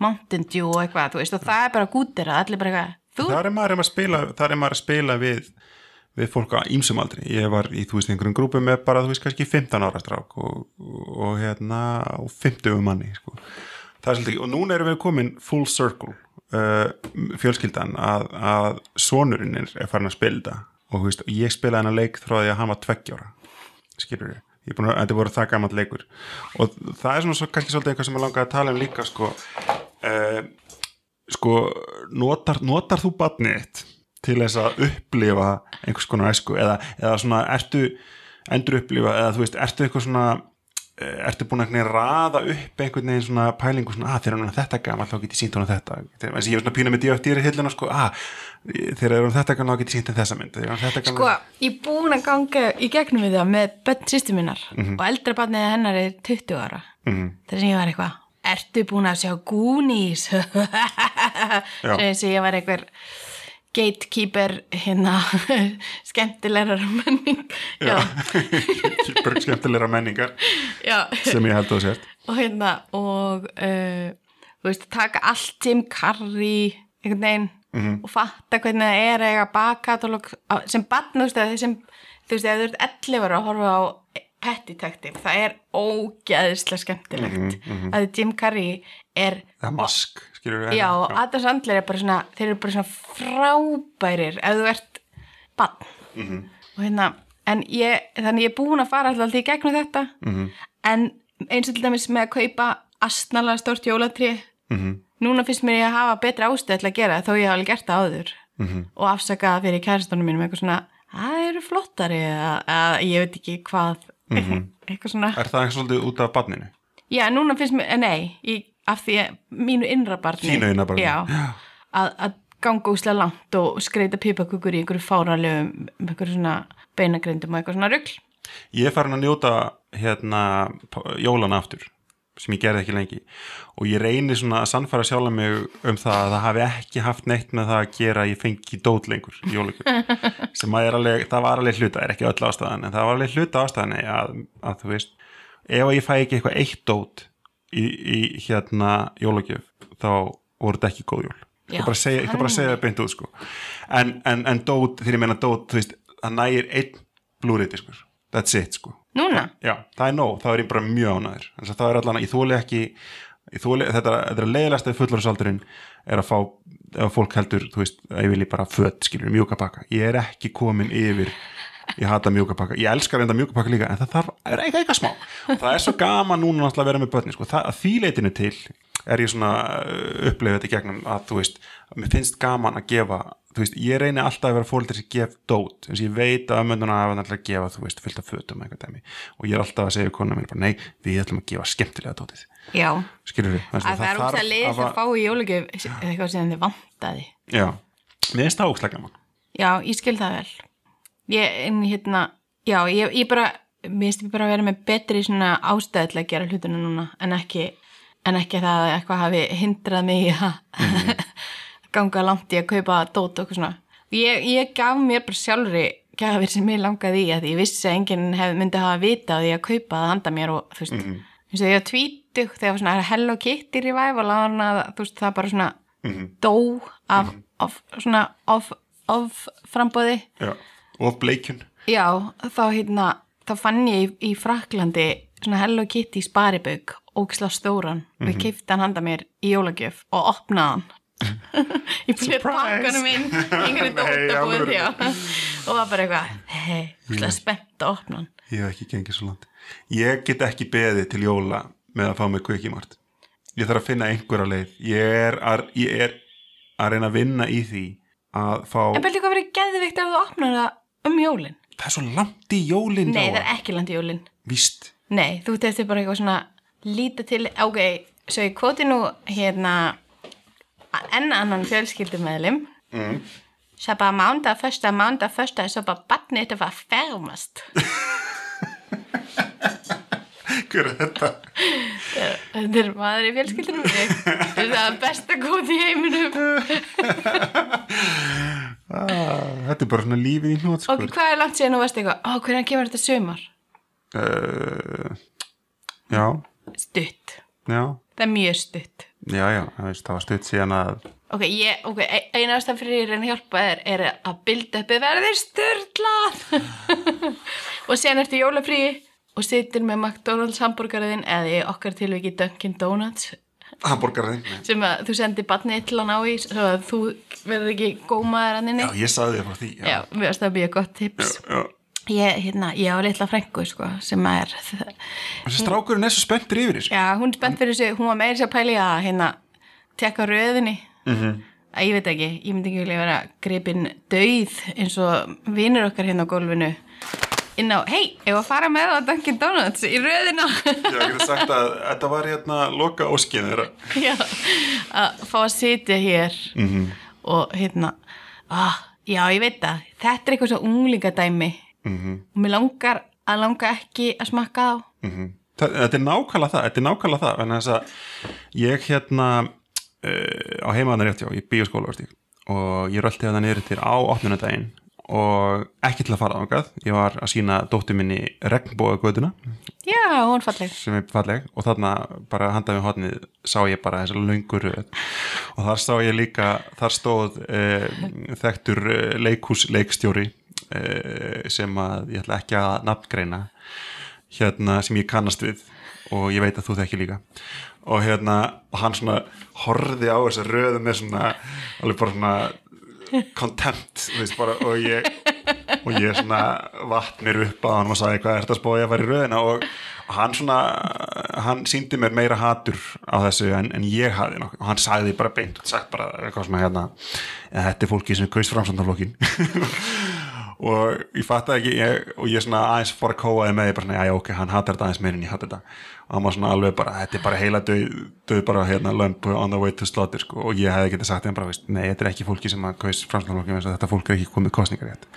D: Mountain Dew og eitthvað, þú veist, og það er bara gútir að allir bara eitthvað, þú
C: Þar er maður að spila, þar er maður að spila við, við fólk á ýmsum aldri. Ég var í, þú veist, einhverjum grúpu með bara, þú veist, kannski 15 ára strák og, og hérna, og 50 manni, sko. Það er svolítið, og núna erum við komin full circle, uh, fjölskyldan, að, að sonurinn er er farin að spila þetta. Og, þú veist, ég spilaði hennar leik frá því að hann var tveggjára, skilur ég. Ég er búin að, þetta voru það gaman leikur. Og það er svona svo, kannski svolítið eitthvað sem ég langaði að tala um líka, sko, eh, sko, notar, notar þú batnið þitt til þess að upplifa einhvers konar æsku eða, eða svona ertu endur upplifa eða þú veist, ertu eitthvað svona eh, ertu búin að einhvern veginn raða upp einhvern veginn svona pælingu svona að þegar hann er þetta gaman þá get ég sínt hann þetta þegar ég er svona pína með dýra hillina sko að þegar hann er þetta gaman þá get ég sínt hann þessa mynd þegar hann er þetta gaman
D: Sko, ég er búin að ganga í gegnum við það með bönn sýstu minnar og eldra barnið hennar er 20 ára. Mm -hmm. Þess að ég var eitthvað, ertu búin að sjá Goonies? Svo eins og ég var einhver gatekeeper, hérna, skemmtilegar menning. Já,
C: Bara skemmtilegra menningar
D: já.
C: sem ég held að þú sért
D: og hérna, og, uh, þú veist, taka allt Jim Carrey, einhvern veginn, og fatta hvernig það er að eiga bakkatalóg sem barn, þú veist, að sem, þú veist, ef þú ert 11 ára að horfa á Petty Detective, það er ógeðislega skemmtilegt að Jim Carrey er
C: það er mask, skilur við
D: Já, og Adam Sandler er bara svona, þeir eru bara svona frábærir ef þú ert bann. Og hérna, en ég, þannig ég er búin að fara alltaf í gegnum þetta, en eins og til dæmis með að kaupa astnalega stórt jólatrí, núna finnst mér ég að hafa betri ástöð til að gera það, þó ég hafa alveg gert það áður og afsaka það fyrir kærastónum mínum eitthvað svona, það eru flottari eða eða ég veit ekki hvað, eitthvað svona.
C: er það svolítið út af batninu
D: Já, núna finnst mér, eh, nei, ég, af því að mínu innra barni.
C: Þínu innra barni,
D: Já, að, að ganga úslega langt og skreita pipakukur í einhverju fáralegum, einhverju svona beinagrindum og eitthvað svona rugl.
C: Ég er farin að njóta hérna p- jólana aftur sem ég gerði ekki lengi og ég reyni svona að sannfæra sjálf mig um það að það hafi ekki haft neitt með það að gera að ég fengi dót lengur í jólugjöf sem að er alveg, það var alveg hluta, er ekki öll ástæðan en það var alveg hluta ástæðan að, að þú veist, ef að ég fæ ekki eitthvað eitt dót í, í hérna jólugjöf þá voru þetta ekki góð jól ég
D: Já,
C: kan bara segja, ég skal bara segja það beint út sko. en, en, en dót, þegar ég meina dót þú veist, það nægir einn blúriti sko. that's it sko
D: Núna?
C: Já, það er nóg, þá er ég bara mjög ánæður en það er allan, ég þóli ekki ég þóli, þetta, er- þetta er leiðilegast ef fullorðsaldurinn er að fá, ef fólk heldur þú veist, að ég vilji bara fött, skilur mjúka pakka, ég er ekki komin yfir ég hata mjúka pakka, ég elskar reynda mjúka pakka líka en það þarf, er eitthvað, eitthvað smá það er svo gaman núna náttúrulega að vera með börni sko. það, að því leitinu til er ég svona uppleifið þetta í gegnum að þú veist, að mér finnst gaman að gefa þú veist, ég reyni alltaf að vera fólitið sem gef dót, eins og ég veit að mönduna að alltaf að gefa, þú veist, fullt af fötum eitthvað dæmi og ég er alltaf að segja konuna mín bara nei, við ætlum að gefa skemmtilega dótið
D: Já.
C: skilur við,
D: Að það er út að leiðist að fá í jólugjöf eitthvað sem þið vantaði.
C: já, mér er stákslega gaman
D: Já, ég skil það vel. Ég, en hérna, já, ég, ég bara, mér finnst ég bara að vera með betri svona ástæði til að gera hlutuna núna en ekki, en ekki það að eitthvað hafi hindrað mig í að ganga langt í að kaupa dót og eitthvað svona. Ég, ég gaf mér bara sjálfri gafir sem ég langaði í að ég vissi að enginn hef, myndi hafa vita á því að kaupa það handa mér og þú veist, eins og ég var tvítug þegar var svona Hello Kitty revival á hana, þú veist, það bara svona dó af, af svona of, of frambóði
C: já. og bleikjun
D: Já, þá hérna, þá fann ég í, í Fraklandi svona Hello Kitty sparibauk, ógislega stóran og ég keipti hann handa mér í jólagjöf og opnaði hann. ég búið pakkanum minn, yngri dóta búið því og var bara eitthvað, hei, ógislega spennt að opna hann.
C: ég hef ekki gengið svo langt ég get ekki beðið til jóla með að fá mig kveikimart ég þarf að finna einhverja leið ég er að, ég er að reyna að vinna í því að fá
D: En bæði hvað verið geðvikt ef þú opnar það um jólin?
C: það er svo langt í jólin
D: Nei, það er ekki landi jólin.
C: víst
D: Nei, þú teftir bara eitthvað svona líta til, ok, svo ég kvoti nú hérna enn annan fjölskyldumeðlim mm. svo bara mánda, första, mánda, första svo bara batni þetta var fermast
C: hver er þetta?
D: þetta er maður í fjölskyldunum þetta er það besta kvoti í heiminum
C: Ah, þetta er bara svona lífið í hnót sko.
D: ok, hvað er langt síðan þú veist eitthvað, ó, hvernig kemur þetta sumar
C: uh, já,
D: stutt,
C: já
D: það er mjög stutt
C: já, já, það veist, það var stutt síðan að
D: ok, ég, ok, e- eina ástæðan fyrir ég reyna að hjálpa þér er að bilda uppi verðir styrlað og sen ertu í jólafrí og situr með McDonalds hambúrgaraðin eða í okkar tilviki Dunkin Donuts
C: hamburgarinn
D: sem að þú sendir batni illan á í svo að þú verður ekki gómaður að
C: já,
D: nynni
C: ég sagði þér frá því já,
D: já, mér finnst það mjög gott tips
C: já.
D: ég, hérna, ég á litla frængu sko, sem að er
C: þessi strákurinn er svo spenntur yfir þessu
D: Já, hún er spennt fyrir þessu, hún var meira sér að pæli að hérna tekka röðinni að ég veit ekki, ég myndi ekki vilja vera gripin dauð eins og vinur okkar hérna á gólfinu inn á, hei, ef að fara með á Dunkin Donuts í röðina
C: ég hef ekki sagt að þetta var hérna loka óskinn þeirra
D: Já, að fá að sitja hér
C: Mhm.
D: -hmm. og hérna ah, já, ég veit það, þetta er eitthvað svo unglingadæmi
C: Mm. Mhm.
D: -hmm. og mér langar að langa ekki að smakka þá
C: Þa- Þetta er nákvæmlega Mhm. það, þetta er nákvæmlega það en þess að ég hérna uh, á heimaðan rétt hjá, ég býð skóla og ég rölti þetta niður til á opnunadaginn og ekki til að fara þangað ég var að sína dóttur minni regnbóðagötuna
D: Já, hún er falleg
C: sem er falleg og þarna bara handaði við hotnið sá ég bara þessi löngur og þar sá ég líka, þar stóð uh, þekktur uh, leikhús leikstjóri uh, sem að ég ætla ekki að nafngreina hérna sem ég kannast við og ég veit að þú þekki líka og hérna, og hann svona horfði á þessa röðu með svona alveg bara svona contempt, þú veist bara, og ég og ég svona vatt mér upp að hann og sagði hvað er þetta spóið að fara í röðina og og hann svona, hann síndi mér meira hatur á þessu en, en ég hafði nokkuð og hann sagði bara beint og sagt bara eitthvað svona hérna, "Ja, þetta er fólki sem kaus framsöndarflokkin og ég fattaði ekki ég, og ég svona aðeins fór að kóaði með því bara svona, já ok, hann hattar þetta aðeins meir en ég hattar þetta og hann var svona alveg bara, þetta er bara heila döð, döð bara hérna lömp on the way to slaughter sko, og ég hefði getið sagt þeim bara, veist, nei, þetta er ekki fólki sem að kaus framslagflokki, þetta fólk er ekki komið kostningar rétt,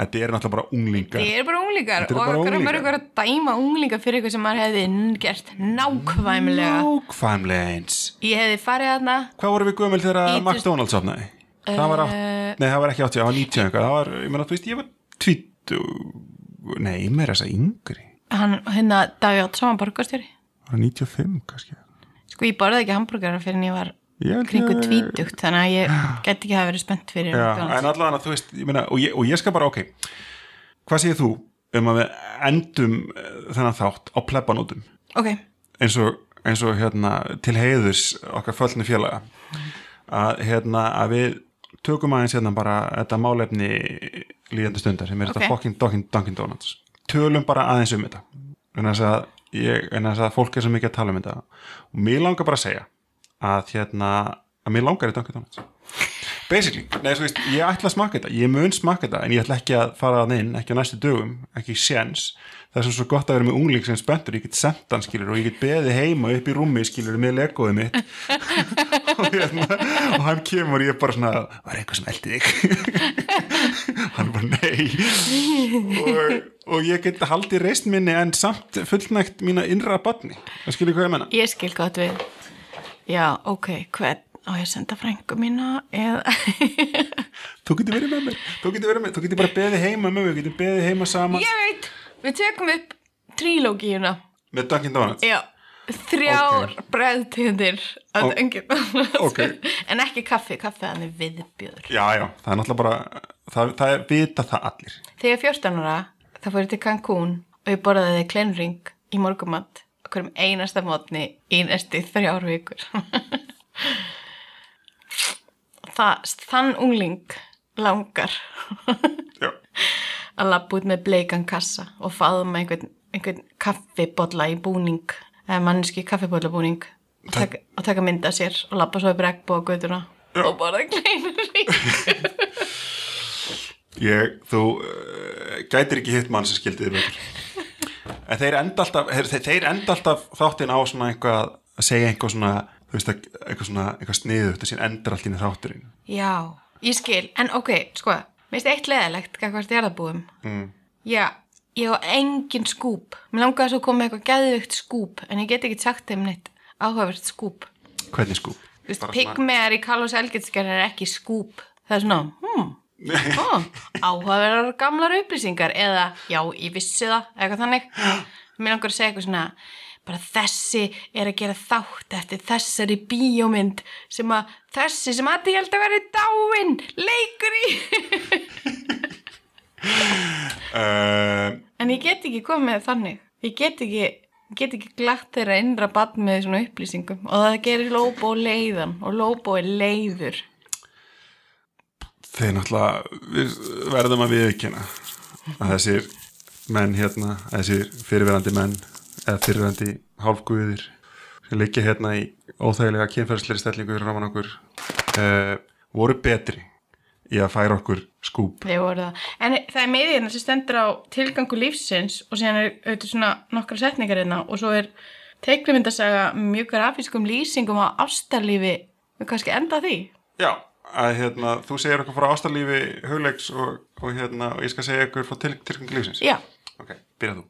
C: þetta eru náttúrulega bara unglingar
D: Þið eru bara unglingar
C: Þetta eru
D: og
C: bara
D: okkur að
C: unglingar.
D: mörg að dæma unglingar fyrir eitthvað sem maður hefði n- gert nákvæmlega.
C: nákvæmlega eins
D: Ég hefði farið þarna,
C: Hvað vorum við gömul þegar
D: Ítus-
C: McDonalds opnaði? Það var, átt, nei, það var ekki 80, það var 90 eitthvað. Það var, ég meina, þú veist, ég var 20, nei, ég meira þess að yngri.
D: hann, hérna, Davíð Áttsson var borgarstjóri.
C: Það var 95 kannski.
D: Sko, ég borðið ekki hambúrgarar fyrir en ég var
C: Ég held
D: kringu
C: ég-
D: tvítugt, þannig að ég gæti ekki hafa verið spennt fyrir.
C: Já,
D: McDonald's.
C: en allavega, þú veist, ég meina, og ég, og ég skal bara, ok, hvað segir þú um að við endum eh, þennan þátt á plebanótum?
D: Ok,
C: eins og, eins og hérna, til heiðurs okkar föllni félaga að, hérna, að við tökum aðeins hérna bara þetta málefni líðandi stundar sem er
D: Ok.
C: þetta fucking Dunkin, Dunkin Donuts tölum bara aðeins um þetta en þess að, ég, en þess að fólk er svo mikið að tala um þetta og mér langar bara að segja að hérna að mér langar í Dunkin Donuts basically, nei, svo veist, ég ætla að smaka þetta ég mun smaka þetta, en ég ætla ekki að fara að inn ekki á næstu dögum, ekki séns það er sem svo gott að vera með ungling sem er spenntur ég get sent hann skilur og ég get beðið heima upp í rúmi skilur með legoðið mitt og, hérna, og hann kemur og ég er bara svona, var eitthvað sem eldi þig hann bara nei og, og ég get haldið reist minni en samt fullnægt mína innra batni, það skilur hvað ég menna
D: ég skil gott við. Já, ok, hvern á ég að senda frængu mína eða...
C: þú getur verið með mér, þú getur verið með þú getur bara beðið heima með mér, við getum beðið heima saman
D: ég veit, við tökum upp trílógíuna.
C: með Dunkin Donuts
D: Já, þrjár okay. bregðtegundir af
C: Ó-
D: döngin.
C: ókei.
D: en ekki kaffi, kaffi hann er viðbjöður.
C: já, já, það er náttúrulega bara það, það er vita það allir
D: Þegar ég er 14 ára, þá fór ég til Cancún og ég borðaði kleinring í morgumatt okkur um einasta mótni í næstu þrjár vikur. Það, þann ungling langar
C: já,
D: að lappa út með bleikan kassa og faðma einhvern, einhvern kaffibolla í búning, eða manneski kaffibolla búning og taka, og taka mynda sér og lappa svo upp regnbóðgötuna og borða kleinring.
C: ég, þú uh, gætir ekki hitt mann sem skildið þig betur en þeir enda alltaf þeir, þeir enda alltaf þáttinn á svona eitthvað að segja eitthvað svona þú veist, eitthvað svona, eitthvað sniðugt og síðan endar allt inn í þátturinn
D: Já, ég skil, en ok, sko, mér finnst eitt leðilegt hvað jarðabúum. Mm. Já, ég á engin skúb. Mér langaði svo að koma með eitthvað geðvikt skúb, en ég get ekki sagt þeim neitt áhugavert skúb.
C: hvernig skúb?
D: Þú veist,
C: Bara svona-
D: pigmeðar í Carlos Elgitskerðin er ekki skúb. Það er svona, hmm, ó, áhugaverðar gamlar upplýsingar eða, já, ég vissi það, eða eitthvað þannig. Mér langar að segja eitthvað svona, bara þessi er að gera þátt eftir þessari bíómynd sem að þessi sem að ég held að vera dáin, leikur í.
C: Uh,
D: en ég get ekki komið með þannig. Ég get ekki, ég get ekki glatt þeirra innra bann með svona upplýsingum og það gerir Lóbo leiðan og Lóbo er leiður.
C: þeir náttúrulega við verðum að viðkynna að þessir menn hérna að þessir fyrirverandi menn eða fyrirverandi hálfguðir sem liggja hérna í óþægilega kynferðsleiri stellingu fyrir raman okkur uh, voru betri í að færa okkur skúb
D: Þeir voru það. En það er meðið hérna sem stendur á tilgangu lífsins og síðan er auðvitað svona nokkra setningar hérna og svo er teiknumyndasaga mjög grafískum lýsingum á ástarlífi við kannski enda á því.
C: Já, að hérna þú segir okkur frá ástarlífi hugleiks og, og hérna og ég skal segja okkur frá til, tilgang lífsins
D: Já.
C: Ok, byrja þú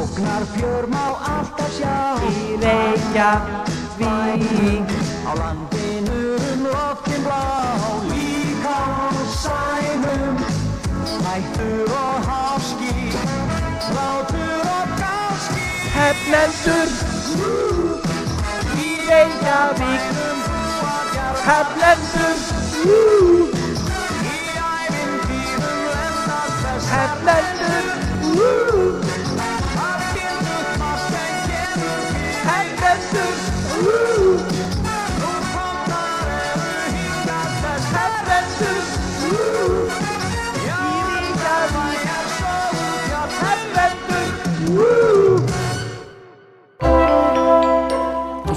F: Ógnar fjör má alltaf sjá Í Reykjavík Á landinu um loftin blá Líka á sænum Hættur og háski Látur og gáski Hefnendur Í Reykjavík Hefnendur Í ævintýrum lendar þess Hefnendur Hefnendur Woo!
G: Þú